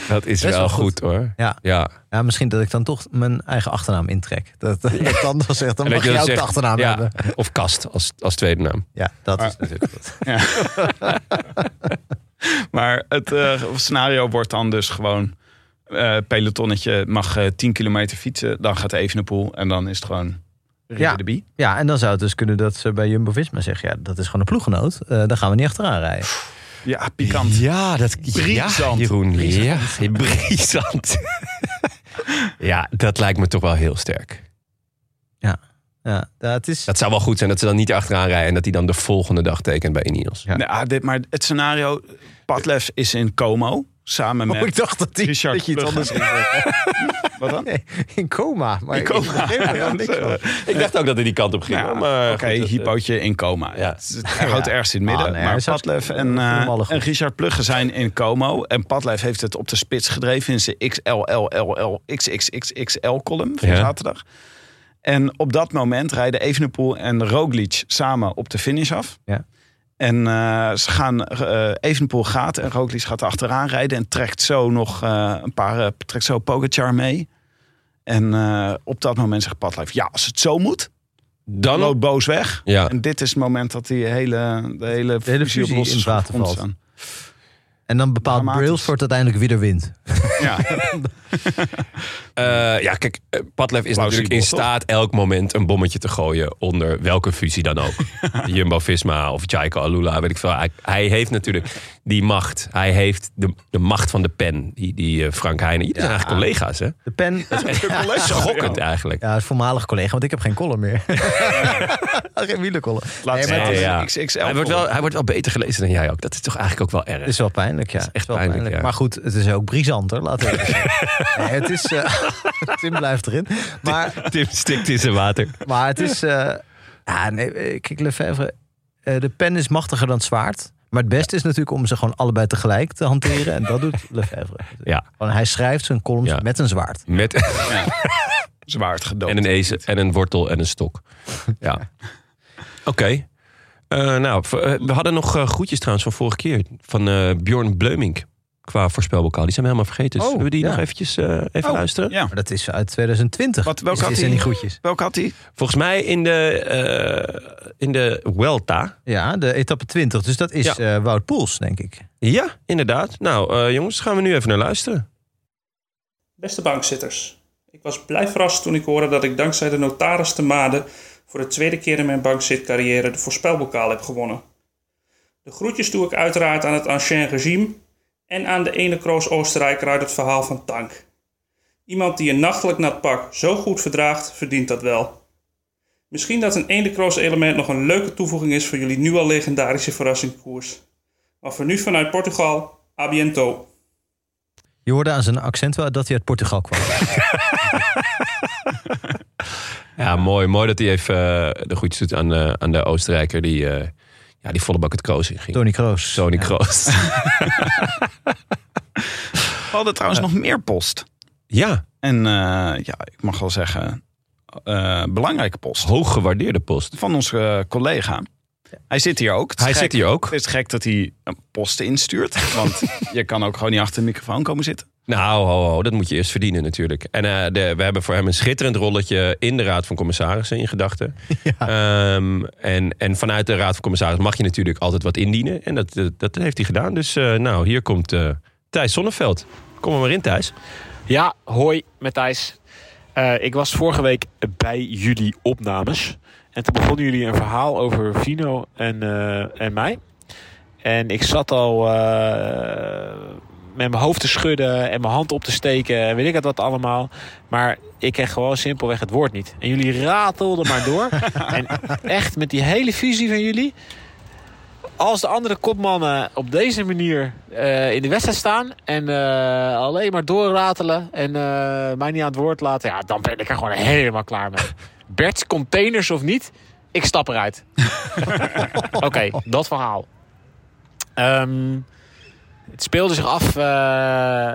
C: Dat is wel,
D: wel
C: goed.
D: goed.
C: hoor.
D: Ja.
C: Ja.
D: Ja, misschien dat ik dan toch mijn eigen achternaam intrek. Dat, dat dan wel zegt, dan
C: En dat je
D: mag je
C: dan
D: ook de
C: zegt,
D: achternaam
C: ja,
D: hebben.
C: Of Kast als, als tweede naam.
D: Ja, dat
E: Maar-
D: is natuurlijk goed.
E: Maar het eh, scenario wordt dan dus gewoon... eh, pelotonnetje mag eh 10 kilometer fietsen. Dan gaat Evenepoel en dan is het gewoon...
D: Ja.
E: Ja. De bie.
D: Ja, en dan zou het dus kunnen dat ze bij Jumbo-Visma zeggen... ja, dat is gewoon een ploeggenoot. Eh daar gaan we niet achteraan rijden.
E: ja, pikant.
C: Ja, dat ja,
E: Briesant.
C: Jeroen. Ja, briesant. ja, dat lijkt me toch wel heel sterk.
D: Ja, dat is...
C: Dat zou wel goed zijn dat ze dan niet achteraan rijden en dat hij dan de volgende dag tekent bij Ineos.
D: Ja.
E: Nou, dit, maar het scenario... Padlef is in Como samen
D: Oh,
E: met...
D: ik dacht dat, die,
E: Richard
D: dat je iets anders
E: Plugge.
D: ging zeggen.
E: Wat dan?
D: Nee, in coma. Maar
E: In coma.
D: Ik begreep er
E: Ja,
D: dan niks van.
E: dat
C: Ik dacht ook dat hij die kant op ging.
E: Nou,
C: hoor, maar
E: Oké,
C: goed, dat- eh,
E: hypootje in coma.
C: Ja.
E: Het, het
D: eh,
E: houdt
D: Ja.
E: ergens in het midden.
D: Ah, nee,
E: maar
D: hij zou-
E: Padlef en, eh,
D: Normaal goed.
E: en Richard Plugge zijn in Como. En Padlef heeft het op de spits gedreven in zijn XLLLXXXXL-column van
C: Ja.
E: zaterdag. En op dat moment rijden Evenepoel en Roglic samen op de finish af.
D: Ja.
E: En eh, ze gaan, eh, Evenepoel gaat en Roglic gaat achteraan rijden. En trekt zo nog eh, een paar, eh, trekt zo Pogacar mee. En eh, op dat moment zegt Padlef, ja, als het zo moet,
C: dan
E: loopt boos weg.
C: Ja.
E: En dit is het moment dat die hele, de hele,
D: hele
E: fusie op
D: fusie
E: losse
D: in het
E: schroef
D: water valt.
E: ontstaan.
D: En dan bepaalt
E: Dramatisch.
D: Brailsford uiteindelijk wie er wint.
E: Ja,
C: Eh, ja, kijk, eh, Padlef is natuurlijk in
E: toch?
C: staat elk moment een bommetje te gooien onder welke fusie dan ook. Jumbo-Visma of Jaiko Alula, weet ik veel. Hij, hij heeft natuurlijk die macht. Hij heeft de, de macht van de pen, die, die eh, Frank Heijnen. Jullie zijn eigenlijk collega's, hè?
D: De pen...
C: Schokkend eigenlijk.
D: Ja, het voormalig collega, want ik heb geen column meer. geen wielercolumn.
E: laatste
D: maar het
E: is
D: is-
C: Ja, ja.
E: XXL.
C: Hij wordt, wel, hij wordt wel beter gelezen dan jij ook. Dat is toch eigenlijk ook wel
D: Het is
C: erg.
D: wel pijnlijk, ja. Het
C: echt
D: wel
C: pijnlijk, ja.
D: Maar goed, het is ook brisanter, laten we het zeggen. Nee, Het is... eh, Tim blijft erin. Maar
C: Tim stikt in zijn water.
D: Maar het is. eh ja, nee, eh, kijk, Lefebvre. eh, de pen is machtiger dan het zwaard. Maar het beste is natuurlijk om ze gewoon allebei tegelijk te hanteren. En dat doet Lefebvre.
C: Ja.
D: Gewoon, hij schrijft zijn columns
C: Ja.
D: met een zwaard.
C: Met,
E: zwaard gedood.
C: en een ezel, en een wortel en een stok. Ja. Oké. Eh, nou, v- eh, we hadden nog eh, groetjes trouwens van vorige keer. Van eh, Bjorn Bleumink. Qua voorspelbokaal. Die zijn we helemaal vergeten. Dus
D: Oh,
C: Zullen we die
D: ja.
C: nog eventjes eh, even
E: Oh,
C: luisteren?
E: Ja.
D: Maar dat is uit 2020.
E: Wat, welke
D: is,
E: had
D: is
E: hij?
D: in die groetjes.
E: Welke had hij?
C: Volgens mij in de, eh in de Welta.
D: Ja, de etappe 20. Dus dat is
C: Ja.
D: eh, Wout Poels, denk ik.
C: Ja, inderdaad. Nou, eh, jongens, gaan we nu even naar luisteren.
F: Beste bankzitters, ik was blij verrast toen ik hoorde dat ik dankzij de notaris te Made voor de tweede keer in mijn bankzitcarrière de voorspelbokaal heb gewonnen. De groetjes doe ik uiteraard aan het ancien regime en aan de ene kroos Oostenrijker uit het verhaal van Tank. Iemand die een nachtelijk nat pak zo goed verdraagt, verdient dat wel. Misschien dat een ene kroos element nog een leuke toevoeging is voor jullie nu al legendarische verrassingkoers. Maar voor nu vanuit Portugal, a biento.
D: Je hoorde aan zijn accent wel dat hij uit Portugal kwam.
C: Ja, mooi. Mooi dat hij even eh, de groetjes doet aan, eh, aan de Oostenrijker. Die, eh, ja, die volle bak het kroos in ging.
D: Tony Kroos.
C: Tony Kroos.
E: We hadden trouwens nog meer post.
C: ja,
E: En eh, ja, ik mag wel zeggen, eh, belangrijke post.
C: hoog gewaardeerde post.
E: Van onze eh, collega. Hij zit hier ook. Het is
C: Hij
E: gek.
C: zit hier ook.
E: Het is gek dat hij een post instuurt. Want je kan ook gewoon niet achter de microfoon komen zitten.
C: Nou, ho, ho, dat moet je eerst verdienen natuurlijk. En eh, de, we hebben voor hem een schitterend rolletje in de Raad van Commissarissen in gedachten. Ehm, en, en vanuit de Raad van Commissarissen mag je natuurlijk altijd wat indienen. En dat, dat, dat heeft hij gedaan. Dus eh, nou, hier komt eh, Thijs Sonneveld. Kom er maar in, Thijs.
G: Ja, hoi met Thijs. Eh, ik was vorige week bij jullie opnames. En toen begonnen jullie een verhaal over Vino en, eh, en mij. En ik zat al eh, met mijn hoofd te schudden en mijn hand op te steken en weet ik het wat allemaal. Maar ik kreeg gewoon simpelweg het woord niet. En jullie ratelden maar door. en echt met die hele visie van jullie. Als de andere kopmannen op deze manier eh, in de wedstrijd staan en eh, alleen maar doorratelen en eh, mij niet aan het woord laten, ja, dan ben ik er gewoon helemaal klaar mee. Bert, containers of niet, ik stap eruit. Oké, dat verhaal. Ehm, het speelde zich af eh,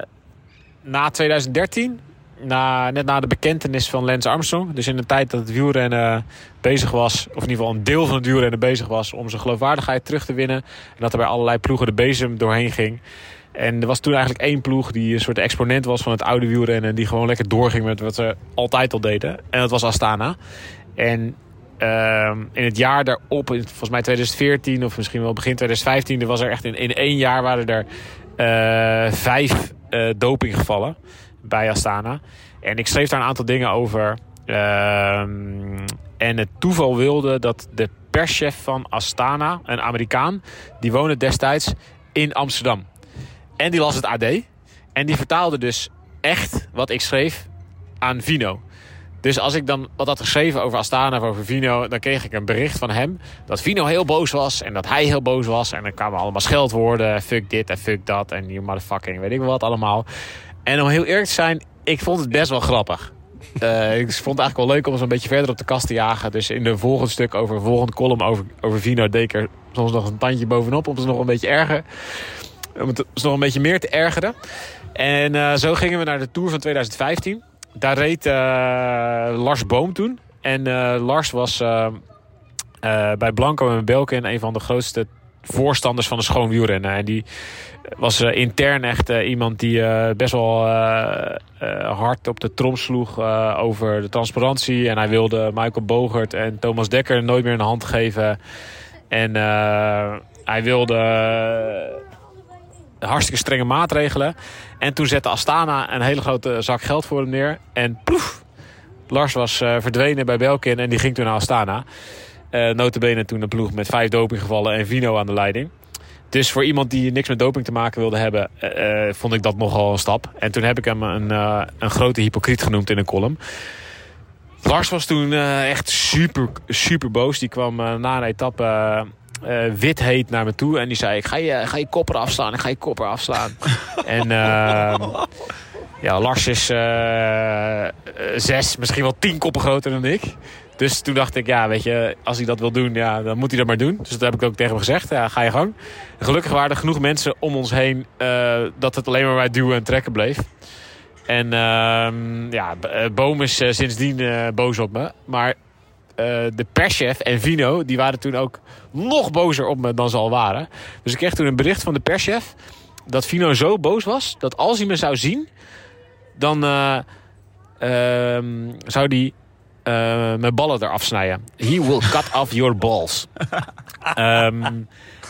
G: na 2013. Na, net na de bekentenis van Lance Armstrong. Dus in de tijd dat het wielrennen bezig was, of in ieder geval een deel van het wielrennen bezig was, om zijn geloofwaardigheid terug te winnen. En dat er bij allerlei ploegen de bezem doorheen ging. En er was toen eigenlijk één ploeg die een soort exponent was van het oude wielrennen. En die gewoon lekker doorging met wat ze altijd al deden. En dat was Astana. En ehm, in het jaar daarop, in volgens mij 2014 of misschien wel begin 2015, er was er echt in, in één jaar waren er eh, vijf eh, dopinggevallen bij Astana. En ik schreef daar een aantal dingen over. Ehm, en het toeval wilde dat de perschef van Astana, een Amerikaan, die woonde destijds in Amsterdam. En die las het AD. En die vertaalde dus echt wat ik schreef aan Vino. Dus als ik dan wat had geschreven over Astana of over Vino, dan kreeg ik een bericht van hem dat Vino heel boos was en dat hij heel boos was. En dan kwamen allemaal scheldwoorden: fuck dit en fuck dat en you motherfucking, weet ik wel wat allemaal. En om heel eerlijk te zijn, ik vond het best wel grappig. Eh, ik vond het eigenlijk wel leuk om eens een beetje verder op de kast te jagen. Dus in de volgende stuk over de volgende column over, over Vino Deker soms nog een tandje bovenop om ze nog een beetje erger. Om het ze nog een beetje meer te ergeren. En eh, zo gingen we naar de Tour van 2015. Daar reed eh, Lars Boom toen. En eh, Lars was eh, eh, bij Blanco en Belkin een van de grootste voorstanders van de schoon wielrennen. En die was eh, intern echt eh, iemand die eh, best wel eh, eh, hard op de trom sloeg eh, over de transparantie. En hij wilde Michael Bogert en Thomas Dekker nooit meer een hand geven. En eh, hij wilde eh, hartstikke strenge maatregelen. En toen zette Astana een hele grote zak geld voor hem neer. En ploef, Lars was eh, verdwenen bij Belkin en die ging toen naar Astana. Eh notabene toen een ploeg met vijf dopinggevallen en Vino aan de leiding. Dus voor iemand die niks met doping te maken wilde hebben, eh, eh, vond ik dat nogal een stap. En toen heb ik hem een, eh, een grote hypocriet genoemd in een column. Lars was toen eh, echt super, super boos. Die kwam eh, na een etappe eh, eh, wit heet naar me toe. En die zei, ik ga je, ga je kopper afslaan, ik ga je kopper afslaan. en eh, ja, Lars is eh, eh, zes, misschien wel tien koppen groter dan ik. Dus toen dacht ik, ja, weet je, als hij dat wil doen, ja, dan moet hij dat maar doen. Dus dat heb ik ook tegen hem gezegd. Ja, ga je gang. Gelukkig waren er genoeg mensen om ons heen eh, dat het alleen maar bij duwen en trekken bleef. En ehm, ja, B- eh, Boom is eh, sindsdien eh, boos op me. Maar eh, de perschef en Vino, die waren toen ook nog bozer op me dan ze al waren. Dus ik kreeg toen een bericht van de perschef dat Vino zo boos was dat als hij me zou zien, dan eh, ehm, zou hij eh, mijn ballen eraf snijden. He will cut off your balls. Ehm,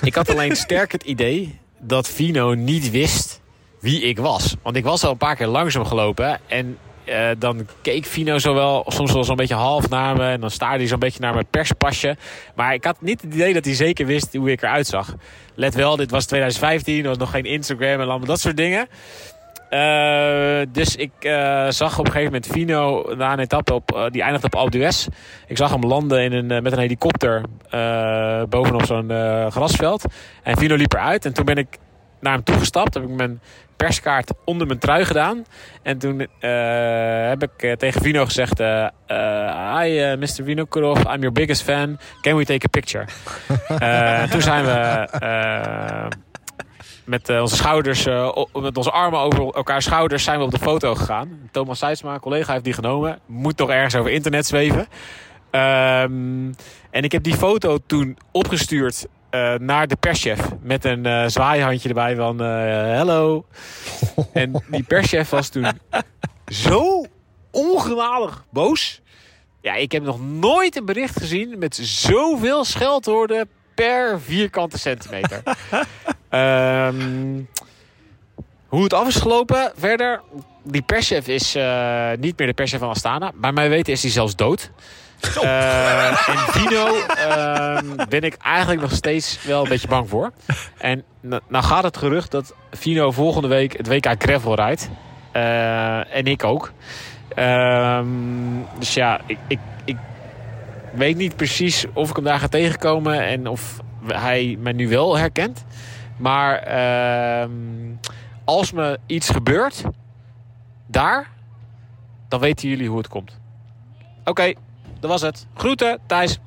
G: ik had alleen sterk het idee dat Vino niet wist wie ik was. Want ik was al een paar keer langzaam gelopen. En eh, dan keek Vino zo wel, soms wel zo'n beetje half naar me. En dan staarde hij zo'n beetje naar mijn perspasje. Maar ik had niet het idee dat hij zeker wist hoe ik eruit zag. Let wel, dit was 2015. Er was nog geen Instagram en allemaal dat soort dingen. Eh, dus ik eh, zag op een gegeven moment Vino na een etappe op, eh, die eindigde op Alpe d'Huez. Ik zag hem landen in een, eh, met een helikopter eh, bovenop zo'n eh, grasveld. En Vino liep eruit. En toen ben ik naar hem toegestapt. Heb ik mijn perskaart onder mijn trui gedaan. En toen eh, heb ik eh, tegen Vino gezegd... eh, eh, Hi, eh, Mr. Vino Kurov. I'm your biggest fan. Can we take a picture? Eh, en toen zijn we... eh, met eh, onze schouders, eh, o- met onze armen over elkaar schouders zijn we op de foto gegaan. Thomas Seidsma, collega, heeft die genomen. Moet toch ergens over internet zweven. Ehm, en ik heb die foto toen opgestuurd eh, naar de perschef. Met een eh zwaaihandje erbij van eh, hello. en die perschef was toen zo ongenadig boos. Ja, ik heb nog nooit een bericht gezien met zoveel scheldwoorden per vierkante centimeter. Ehm, hoe het af is gelopen verder. Die perschef is eh, niet meer de perschef van Astana. Bij mij weten is hij zelfs dood. Eh, en Vino ehm, ben ik eigenlijk nog steeds wel een beetje bang voor. En n- nou gaat het gerucht dat Vino volgende week het WK Gravel rijdt. Eh, en ik ook. Ehm, dus ja, ik, ik, ik weet niet precies of ik hem daar ga tegenkomen. En of hij mij nu wel herkent. Maar ehm, als me iets gebeurt daar, dan weten jullie hoe het komt. Oké, dat was het. Groeten, Thijs.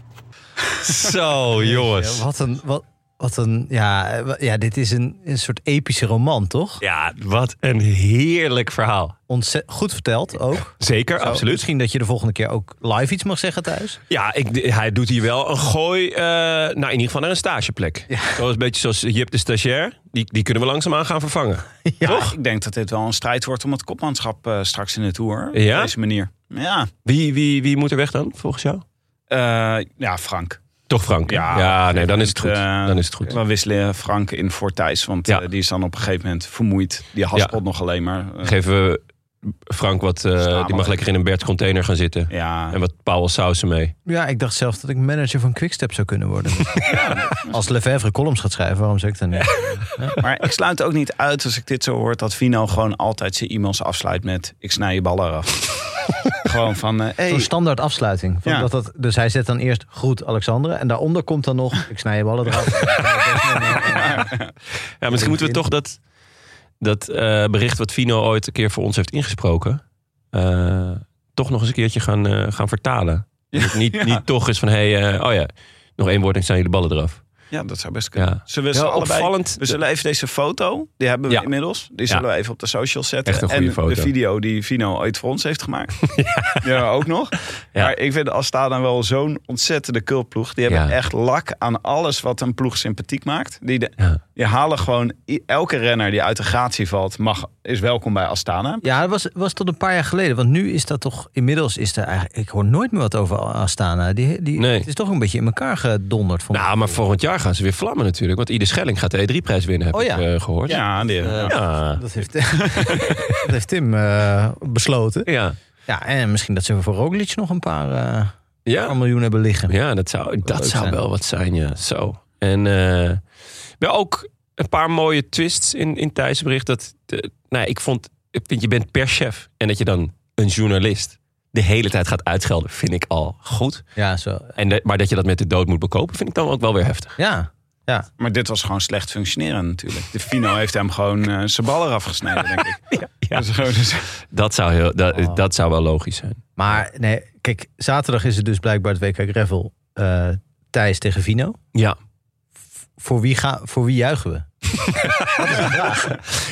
C: Zo, jongens.
D: Wat een, wat, wat een, ja, eh, wa- ja, dit is een, een soort epische roman, toch?
C: Ja, wat een heerlijk verhaal.
D: Ontze- goed verteld ook.
C: Zeker,
D: Zo,
C: absoluut.
D: Misschien dat je de volgende keer ook live iets mag zeggen thuis.
C: Ja, ik, d- hij doet hier wel een gooi eh nou, in ieder geval naar een stageplek. Zoals, een beetje zoals Jip de stagiair. Die, die kunnen we langzaamaan gaan vervangen.
E: Toch? Ik denk dat dit wel een strijd wordt om het kopmanschap eh, straks in de Tour.
C: Ja?
E: Op deze manier. Ja.
C: Wie, wie, wie moet er weg dan, volgens jou?
E: Eh, ja, Frank.
C: Toch Frank?
E: Ja.
C: nee, dan is het goed.
E: Eh,
C: Dan is het goed.
E: We wisselen Frank in voor Thijs, want
C: Ja.
E: eh, die is dan op een gegeven moment vermoeid. Die haspelt nog alleen maar. Eh,
C: Geven we Frank wat... eh,
E: Stamel.
C: die mag lekker in een Bert container gaan zitten.
E: ja,
C: En wat Paul sausen mee.
D: Ja, ik dacht zelf dat ik manager van Quickstep zou kunnen worden. Als Lefevre columns gaat schrijven, waarom zou ik dan niet?
E: maar ik sluit ook niet uit als ik dit zo hoor dat Vino gewoon altijd zijn e-mails afsluit met ik snij je ballen af. gewoon van, eh, hey,
D: Zo'n standaard afsluiting. Van
E: Ja.
D: dat dat, dus hij zet dan eerst groet Alexandre. En daaronder komt dan nog, ik snij je ballen eraf.
C: Ja, misschien moeten we toch dat, dat eh, bericht wat Vino ooit een keer voor ons heeft ingesproken... eh, toch nog eens een keertje gaan, eh, gaan vertalen. Dat het niet,
E: ja.
C: niet toch is van, hé, hey, eh, oh ja, nog één woord en zijn jullie ballen eraf.
E: ja, dat zou best kunnen.
C: Ja.
E: Zullen we
C: Ja,
E: ze allebei-
C: opvallend.
E: We zullen even deze foto, die hebben we
C: Ja.
E: inmiddels, die
C: Ja.
E: zullen we even op de socials zetten.
C: Echt een goede
E: en
C: foto.
E: de video die Vino ooit voor ons heeft gemaakt. ja. ook nog.
C: Ja.
E: Maar ik vind Alsta dan wel zo'n ontzettende cultploeg. Die hebben
C: Ja.
E: echt lak aan alles wat een ploeg sympathiek maakt. Die, de,
C: Ja.
E: die halen gewoon, i- elke renner die uit de gratie valt, mag, is welkom bij Astana.
D: Ja, dat was, was tot een paar jaar geleden. Want nu is dat toch, inmiddels is er eigenlijk, ik hoor nooit meer wat over Astana. Die, die,
C: Nee.
D: Het is toch een beetje in elkaar gedonderd. Vond ik.
C: Nou, maar volgend jaar gaan ze weer vlammen natuurlijk. Want Ieder Schelling gaat de E3-prijs winnen, heb
D: Oh
C: ik
D: ja.
C: eh, gehoord.
E: Ja, die,
D: Eh,
E: ja.
C: Ja.
D: dat, heeft, dat heeft Tim eh, besloten.
C: Ja.
D: Ja, en misschien dat ze voor Roglic nog een paar, eh, paar
C: Ja.
D: miljoen hebben liggen.
C: Ja, dat zou, dat
D: leuk
C: zou
D: zijn.
C: wel wat zijn, ja. Zo. En eh, wel ook een paar mooie twists in, in Thijs' bericht. Dat, de, nou, ja, ik, vond, ik vind, je bent perschef. En dat je dan een journalist de hele tijd gaat uitschelden, vind ik al goed.
D: Ja, zo.
C: En de- maar dat je dat met de dood moet bekopen, vind ik dan ook wel weer heftig.
D: Ja, ja.
E: Maar dit was gewoon slecht functioneren natuurlijk. De Vino heeft hem gewoon eh, zijn bal eraf gesneden, denk ik.
C: ja.
E: Dat is gewoon- dus-
C: Dat zou, heel, dat,
D: Oh.
C: dat zou wel logisch zijn.
D: Maar nee, kijk, zaterdag is het dus blijkbaar het WK Gravel. eh, Thijs tegen Vino.
C: Ja.
D: Voor wie, ga, voor wie juichen we?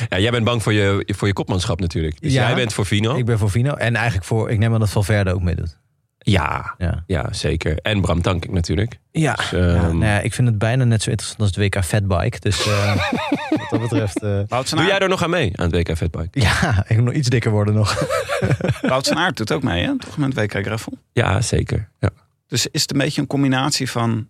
C: ja jij bent bang voor je, voor je kopmanschap natuurlijk. Dus
D: Ja.
C: jij bent voor Vino.
D: Ik ben voor Vino. En eigenlijk voor, ik neem aan dat Valverde ook meedoet.
C: Ja,
D: Ja.
C: ja, zeker. En Bram Tankink natuurlijk.
D: Ja.
C: Dus,
D: Ja,
C: ehm,
D: nou ja, ik vind het bijna net zo interessant als het WK Fatbike. Dus eh, wat dat betreft... eh,
E: Wout van
C: Doe jij
E: Aert-
C: er nog aan mee aan het WK Fatbike?
D: ja, ik moet nog iets dikker worden nog.
E: Wout van Aert doet ook mee, hè? Toch met WK Greffel.
C: Ja, zeker. Ja.
E: Dus is het een beetje een combinatie van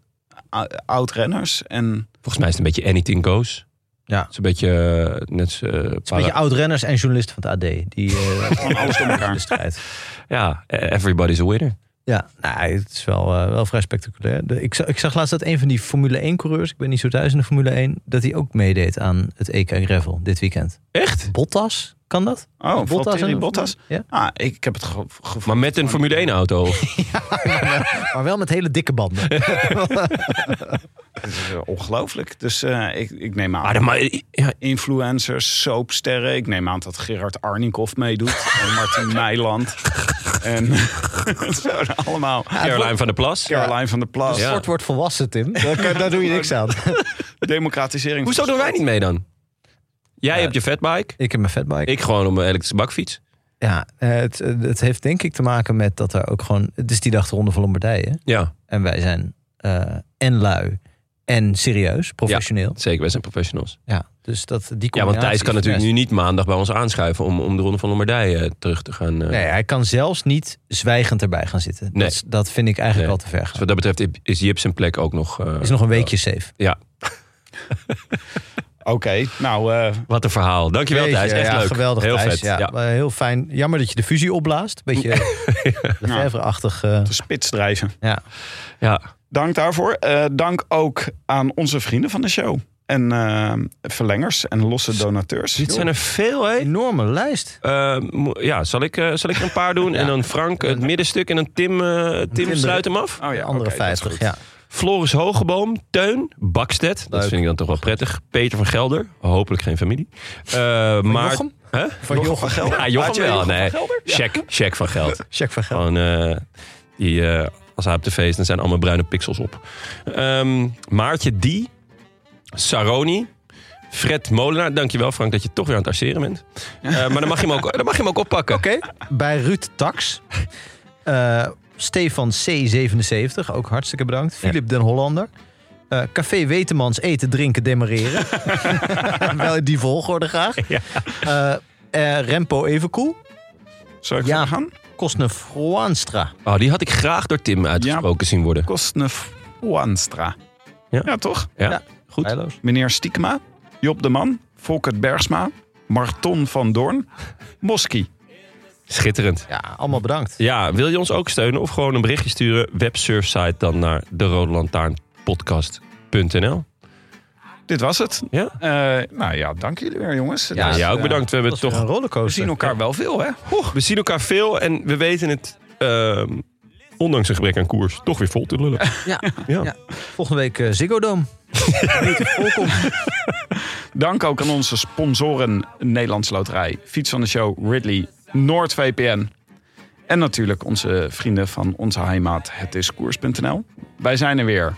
E: ou- oud-renners en...
C: Volgens mij is het een beetje anything goes.
D: Ja.
C: Het is een beetje eh, net zo, eh,
D: Het is een beetje
C: para-
D: oud-renners en journalisten van het AD. Die eh,
E: Gewoon alles door elkaar.
D: De strijd.
C: Ja, eh, everybody's a winner.
D: Ja, nou, het is wel, eh, wel vrij spectaculair. De- ik, za- ik zag laatst dat een van die Formule 1-coureurs... ik ben niet zo thuis in de Formule 1... dat hij ook meedeed aan het EK Gravel dit weekend.
C: Echt?
D: Bottas, kan dat?
E: Oh, Valtteri
D: en-
E: Bottas.
D: Ja,
E: Ah, ik, ik heb het ge- gevoel...
C: Maar met een Formule 1-auto.
D: maar wel met hele dikke banden.
E: Het is, eh, Ongelooflijk. Dus eh, ik, ik neem aan...
C: Maar, Ah, dan- maar, ja,
E: Influencers, soapsterren. Ik neem aan dat Gerard Arnikoff meedoet. en Martin Meiland. En zo allemaal.
C: Caroline van der Plas.
E: Caroline van der Plas.
C: Ja.
D: Sport wordt volwassen, Tim. Daar, kan- daar doe je niks aan.
E: Democratisering.
C: Hoezo doen wij niet mee dan? Jij hebt je fatbike.
D: Ik heb mijn fatbike.
C: Ik gewoon op mijn elektrische bakfiets.
D: Ja, eh, het, het heeft denk ik te maken met dat er ook gewoon... Het is die dag de Ronde van Lombardije.
C: Ja,
D: En wij zijn eh en lui en serieus, professioneel.
C: zeker. Wij zijn professionals.
D: Ja, dus dat, die
C: Ja, want
D: combinatie
C: Thijs kan
D: is
C: natuurlijk nu
D: best.
C: niet maandag bij ons aanschuiven... om, om de Ronde van Lombardije eh, terug te gaan... eh.
D: Nee, hij kan zelfs niet zwijgend erbij gaan zitten.
C: Nee.
D: Dat, is- dat vind ik eigenlijk
C: Nee.
D: al te ver
C: Dus
D: gaan.
C: wat dat betreft is Jip zijn plek ook nog... eh,
D: is nog een weekje safe.
C: Ja,
E: Oké, nou... eh,
C: wat een verhaal. Dankjewel
D: Jeetje,
C: Thijs, echt
D: ja,
C: leuk.
D: Geweldig,
C: Heel
D: Thijs.
C: vet.
D: Ja, maar Heel fijn. Jammer dat je de fusie opblaast. Beetje Lefevre-achtig. eh,
E: de spits drijven.
D: ja.
C: Ja.
E: Dank daarvoor. Eh, dank ook aan onze vrienden van de show. En eh, verlengers en losse donateurs.
C: Dit zijn er veel, hè?
D: Enorme lijst.
C: Eh, mo- ja, zal ik, eh, zal ik er een paar doen?
D: Ja.
C: En dan Frank het middenstuk en dan Tim, eh, Tim
D: Tim de-
C: sluit hem af?
E: Oh ja,
D: Andere
E: oké, dat is
D: 50,
E: goed.
D: ja.
C: Floris Hogeboom, Teun, Bakstedt. Dat
D: Leuk.
C: vind ik dan toch wel prettig. Peter van Gelder, hopelijk geen familie. Eh, maar,
D: Jochem?
C: Hè?
D: Van Jochem van Gelder.
C: Ja, Jochem
D: Had je
C: wel.
D: Jochem
C: Nee,
D: van Gelder? Ja.
C: check, check van geld.
D: Check van geld.
C: Gewoon, eh, die, eh, als hij op tv is, dan zijn allemaal bruine pixels op. Ehm, Maartje Die, Saroni, Fred Molenaar. Dankjewel Frank dat je toch weer aan het arceren bent. Eh, maar dan mag je hem ook, dan mag je hem ook oppakken.
D: Oké, bij Ruud Tax. Eh, Stefan C77, ook hartstikke bedankt. Philip Den Hollander. Eh, Café Wetemans, eten, drinken, demareren. Wel in die volgorde graag. Eh, eh, Rempo Evenkoel.
E: Zal ik
D: Ja.
E: ja. gaan?
D: Kostne Froanstra.
C: Oh, die had ik graag door Tim uitgesproken zien worden.
E: Kostnef Oanstra.
C: Ja.
E: Ja. toch?
C: Goed.
D: Heilloos.
E: Meneer Stiekema, Job de Man, Volkert Bergsma, Marton van Doorn, Moski.
C: Schitterend.
D: Ja, allemaal bedankt.
C: Ja, wil je ons ook steunen of gewoon een berichtje sturen? Websurfsite dan naar de Rode Lantaarn podcast.nl.
E: Dit was het.
C: Ja.
E: Eh, nou ja, dank jullie weer jongens. Het
D: Ja,
E: was,
C: Ja, ook
E: eh,
C: bedankt. We hebben
D: Dat is
C: toch
D: toch een
E: We
D: rollercoaster.
E: zien elkaar wel veel, hè?
C: We zien elkaar veel en we weten het, ehm, ondanks een gebrek aan koers, toch weer vol te lullen.
D: Ja.
C: Ja.
D: Ja. Volgende week eh, Ziggo Dome.
E: Dank ook aan onze sponsoren Nederlands Loterij, Fiets van de Show, Ridley, NoordVPN. En natuurlijk onze vrienden van onze heimaat, het is koers.nl. Wij zijn er weer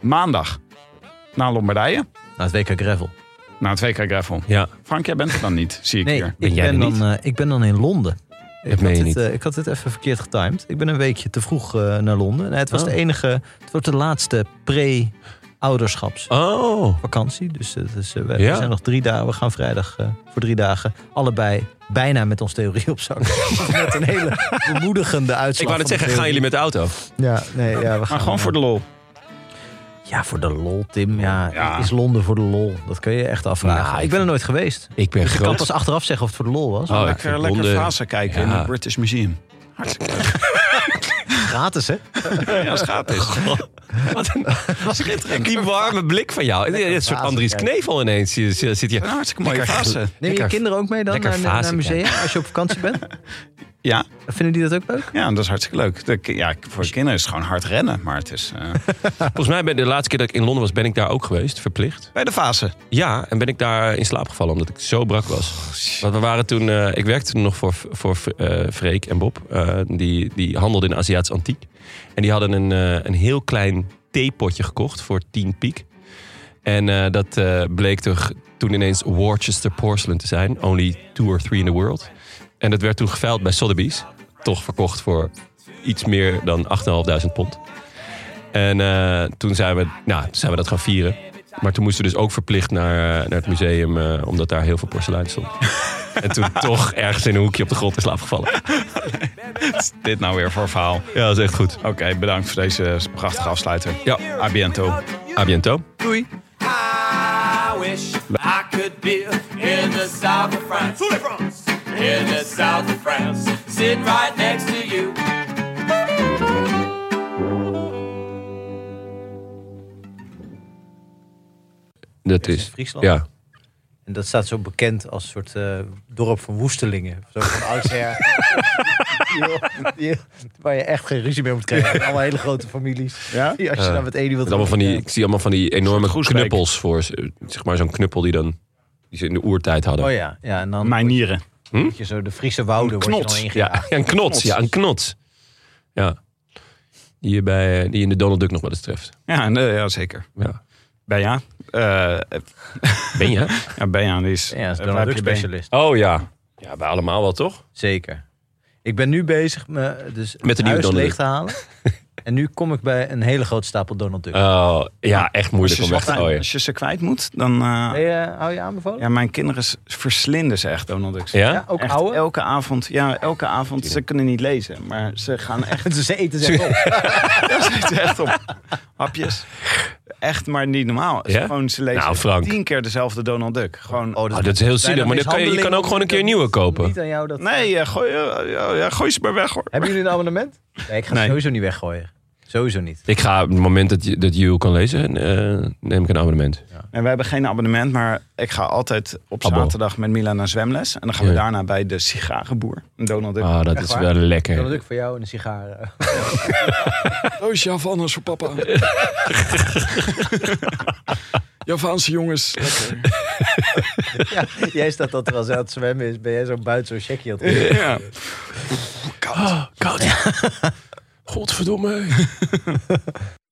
E: maandag na Lombardije,
D: Na het WK Gravel.
E: na het WK Gravel.
C: Ja,
E: Frank, jij bent er dan niet, zie ik
D: Nee,
E: hier.
C: Ben
D: ik
C: jij
D: ben,
C: er
D: dan,
C: niet?
D: eh, ik ben dan in Londen. ik,
C: meen
D: had
C: je
D: dit,
C: niet.
D: eh, ik had dit even verkeerd getimed. Ik ben een weekje te vroeg eh, naar Londen. Nee, het was
C: Oh.
D: de enige, het wordt de laatste pre-ouderschapsvakantie.
C: Oh,
D: Dus het is, eh, we,
C: Ja.
D: we zijn nog drie dagen. We gaan vrijdag eh, voor drie dagen. Allebei bijna met ons theorie op zak. met een hele bemoedigende uitslag.
C: ik wou net
D: van de
C: zeggen, gaan
D: theorie.
C: jullie met de auto?
D: Ja, nee, ja, we gaan eh,
E: Maar gewoon voor de
C: Oh,
E: lol.
D: Ja, voor de lol, Tim. Ja,
E: Ja.
D: is Londen voor de lol? Dat kun je echt afvragen.
C: Nou,
D: ik ben er nooit geweest.
C: Ik ben
D: Dus ik kan
C: groot.
D: pas achteraf zeggen of het voor de lol was.
C: Oh, ik
E: lekker
C: vind
E: lekker
C: Londen-
E: Vasa kijken in
C: Ja.
E: het British Museum.
D: Gratis, hè?
E: Ja, dat gaat dus.
C: Wat een- Die warme blik van jou. Dit is een soort
D: vazen,
C: Andries
D: ja.
C: Knevel ineens. Je je zit
E: Een
C: hier.
E: hartstikke mooie fase.
D: Neem je
C: Lekker-
D: kinderen ook mee dan
C: lekker
D: naar, naar,
C: fase,
D: naar musea als je op vakantie bent?
E: Ja,
D: Vinden die dat ook leuk?
E: ja, dat is hartstikke leuk. De ki- ja, voor de kinderen is het gewoon hard rennen, maar het is... eh,
C: Volgens mij ben de laatste keer dat ik in Londen was, ben ik daar ook geweest, verplicht.
E: bij de fase.
C: Ja, en ben ik daar in slaap gevallen omdat ik zo brak was. Want we waren toen, eh, ik werkte toen nog voor, voor eh, Freek en Bob. eh, die, die handelden in Aziatisch antiek. En die hadden een, eh, een heel klein theepotje gekocht voor 10 piek. En eh, dat eh, bleek toch toen ineens Worcester porcelain te zijn. Only two or three in the world. En dat werd toen geveild bij Sotheby's. Toch verkocht voor iets meer dan 8.500 pond. En eh, toen zijn we, nou, toen zijn we dat gaan vieren. Maar toen moesten we dus ook verplicht naar, eh, naar het museum, eh, omdat daar heel veel porselein stond. en toen toch ergens in een hoekje op de grond in slaap gevallen.
E: Dit nou weer voor verhaal.
C: Ja, dat is echt goed.
E: Oké, bedankt voor deze prachtige afsluiter.
C: Ja,
E: A biento.
C: a biento.
E: Doei.
H: I wish I could be in the south of France. In the south of France. Sitting right next to you.
C: Dat
D: Is
C: is.
D: in Friesland?
C: Ja.
D: En dat staat zo bekend als een soort eh, dorp van woestelingen. Zo van oudsher. Die- die- waar je echt geen ruzie mee moet krijgen. Allemaal hele grote families.
E: Ja?
D: Die als je dan met één
C: Met
D: wilt...
C: allemaal van die, ik zie allemaal van die enorme
E: Groesbeek.
C: knuppels voor. ze. Zeg maar zo'n knuppel die, dan, die ze in de oertijd hadden.
D: Oh ja, ja en dan
E: Mijn nieren.
D: moet je zo de Friese wouden word je
E: Knots.
D: dan ingejaagd.
C: Ja, ja, een knots. Ja, een knots. Ja. Die, je bij, die je in de Donald Duck nog wel eens treft.
E: Ja, nee, ja zeker.
C: Ja.
E: Benja. Eh
C: Ben je?
E: ja, Benja die is...
D: Ja, dat is
E: eh,
D: dus dan
E: waar
D: ook
E: heb je Ben?
D: specialist.
C: Oh ja. Ja, bij allemaal wel toch?
D: Zeker. Ik ben nu bezig me, dus het
C: Met de nieuwe
D: huis
C: Donald
D: leeg te halen. en nu kom ik bij een hele grote stapel Donald Duck.
C: Oh, ja, echt
E: Als
C: moeilijk
E: je,
C: om
E: ze
C: weg te
E: kwijt,
C: gooien.
E: als je ze kwijt moet, dan... eh,
D: Ben je- hou je aanbevolen?
E: ja, mijn kinderen s- verslinden ze echt, Donald Ducks.
C: Ja?
D: Ja, ook
E: Echt,
D: oude?
E: elke avond. Ja, elke avond. Ze kunnen niet lezen, maar ze gaan echt,
D: Dus ze eten ze op.
E: ze zitten echt op hapjes. Echt maar niet normaal. Ze,
C: Ja?
E: gewoon, ze lezen
C: Nou, Frank.
E: tien keer dezelfde Donald Duck. Gewoon,
C: Oh, dat is heel zielig, maar dan kan je, je kan ook gewoon een keer een nieuwe kopen.
D: Niet aan jou dat...
E: nee, eh, gooi, eh, ja, ja, gooi ze maar weg hoor.
D: Hebben jullie een abonnement? Nee, ik ga het
E: Nee.
D: sowieso niet weggooien. Sowieso niet.
C: Ik ga op het moment dat, je- dat Jules kan lezen, eh, neem ik een abonnement.
E: En we hebben geen abonnement, maar ik ga altijd op
C: Abo.
E: zaterdag met Mila naar zwemles. En dan gaan we
C: Ja.
E: daarna bij de sigarenboer. Donald Duck.
C: Ah, dat is
D: waar?
C: wel lekker.
D: Dan ik voor jou en een sigaar.
E: Doosje Havanas voor papa. Javaanse jongens.
D: ja, jij staat dat er als hij aan het zwemmen is, ben jij zo buiten zo'n checkje aan het doen.
E: Ja.
C: Koud. Godverdomme.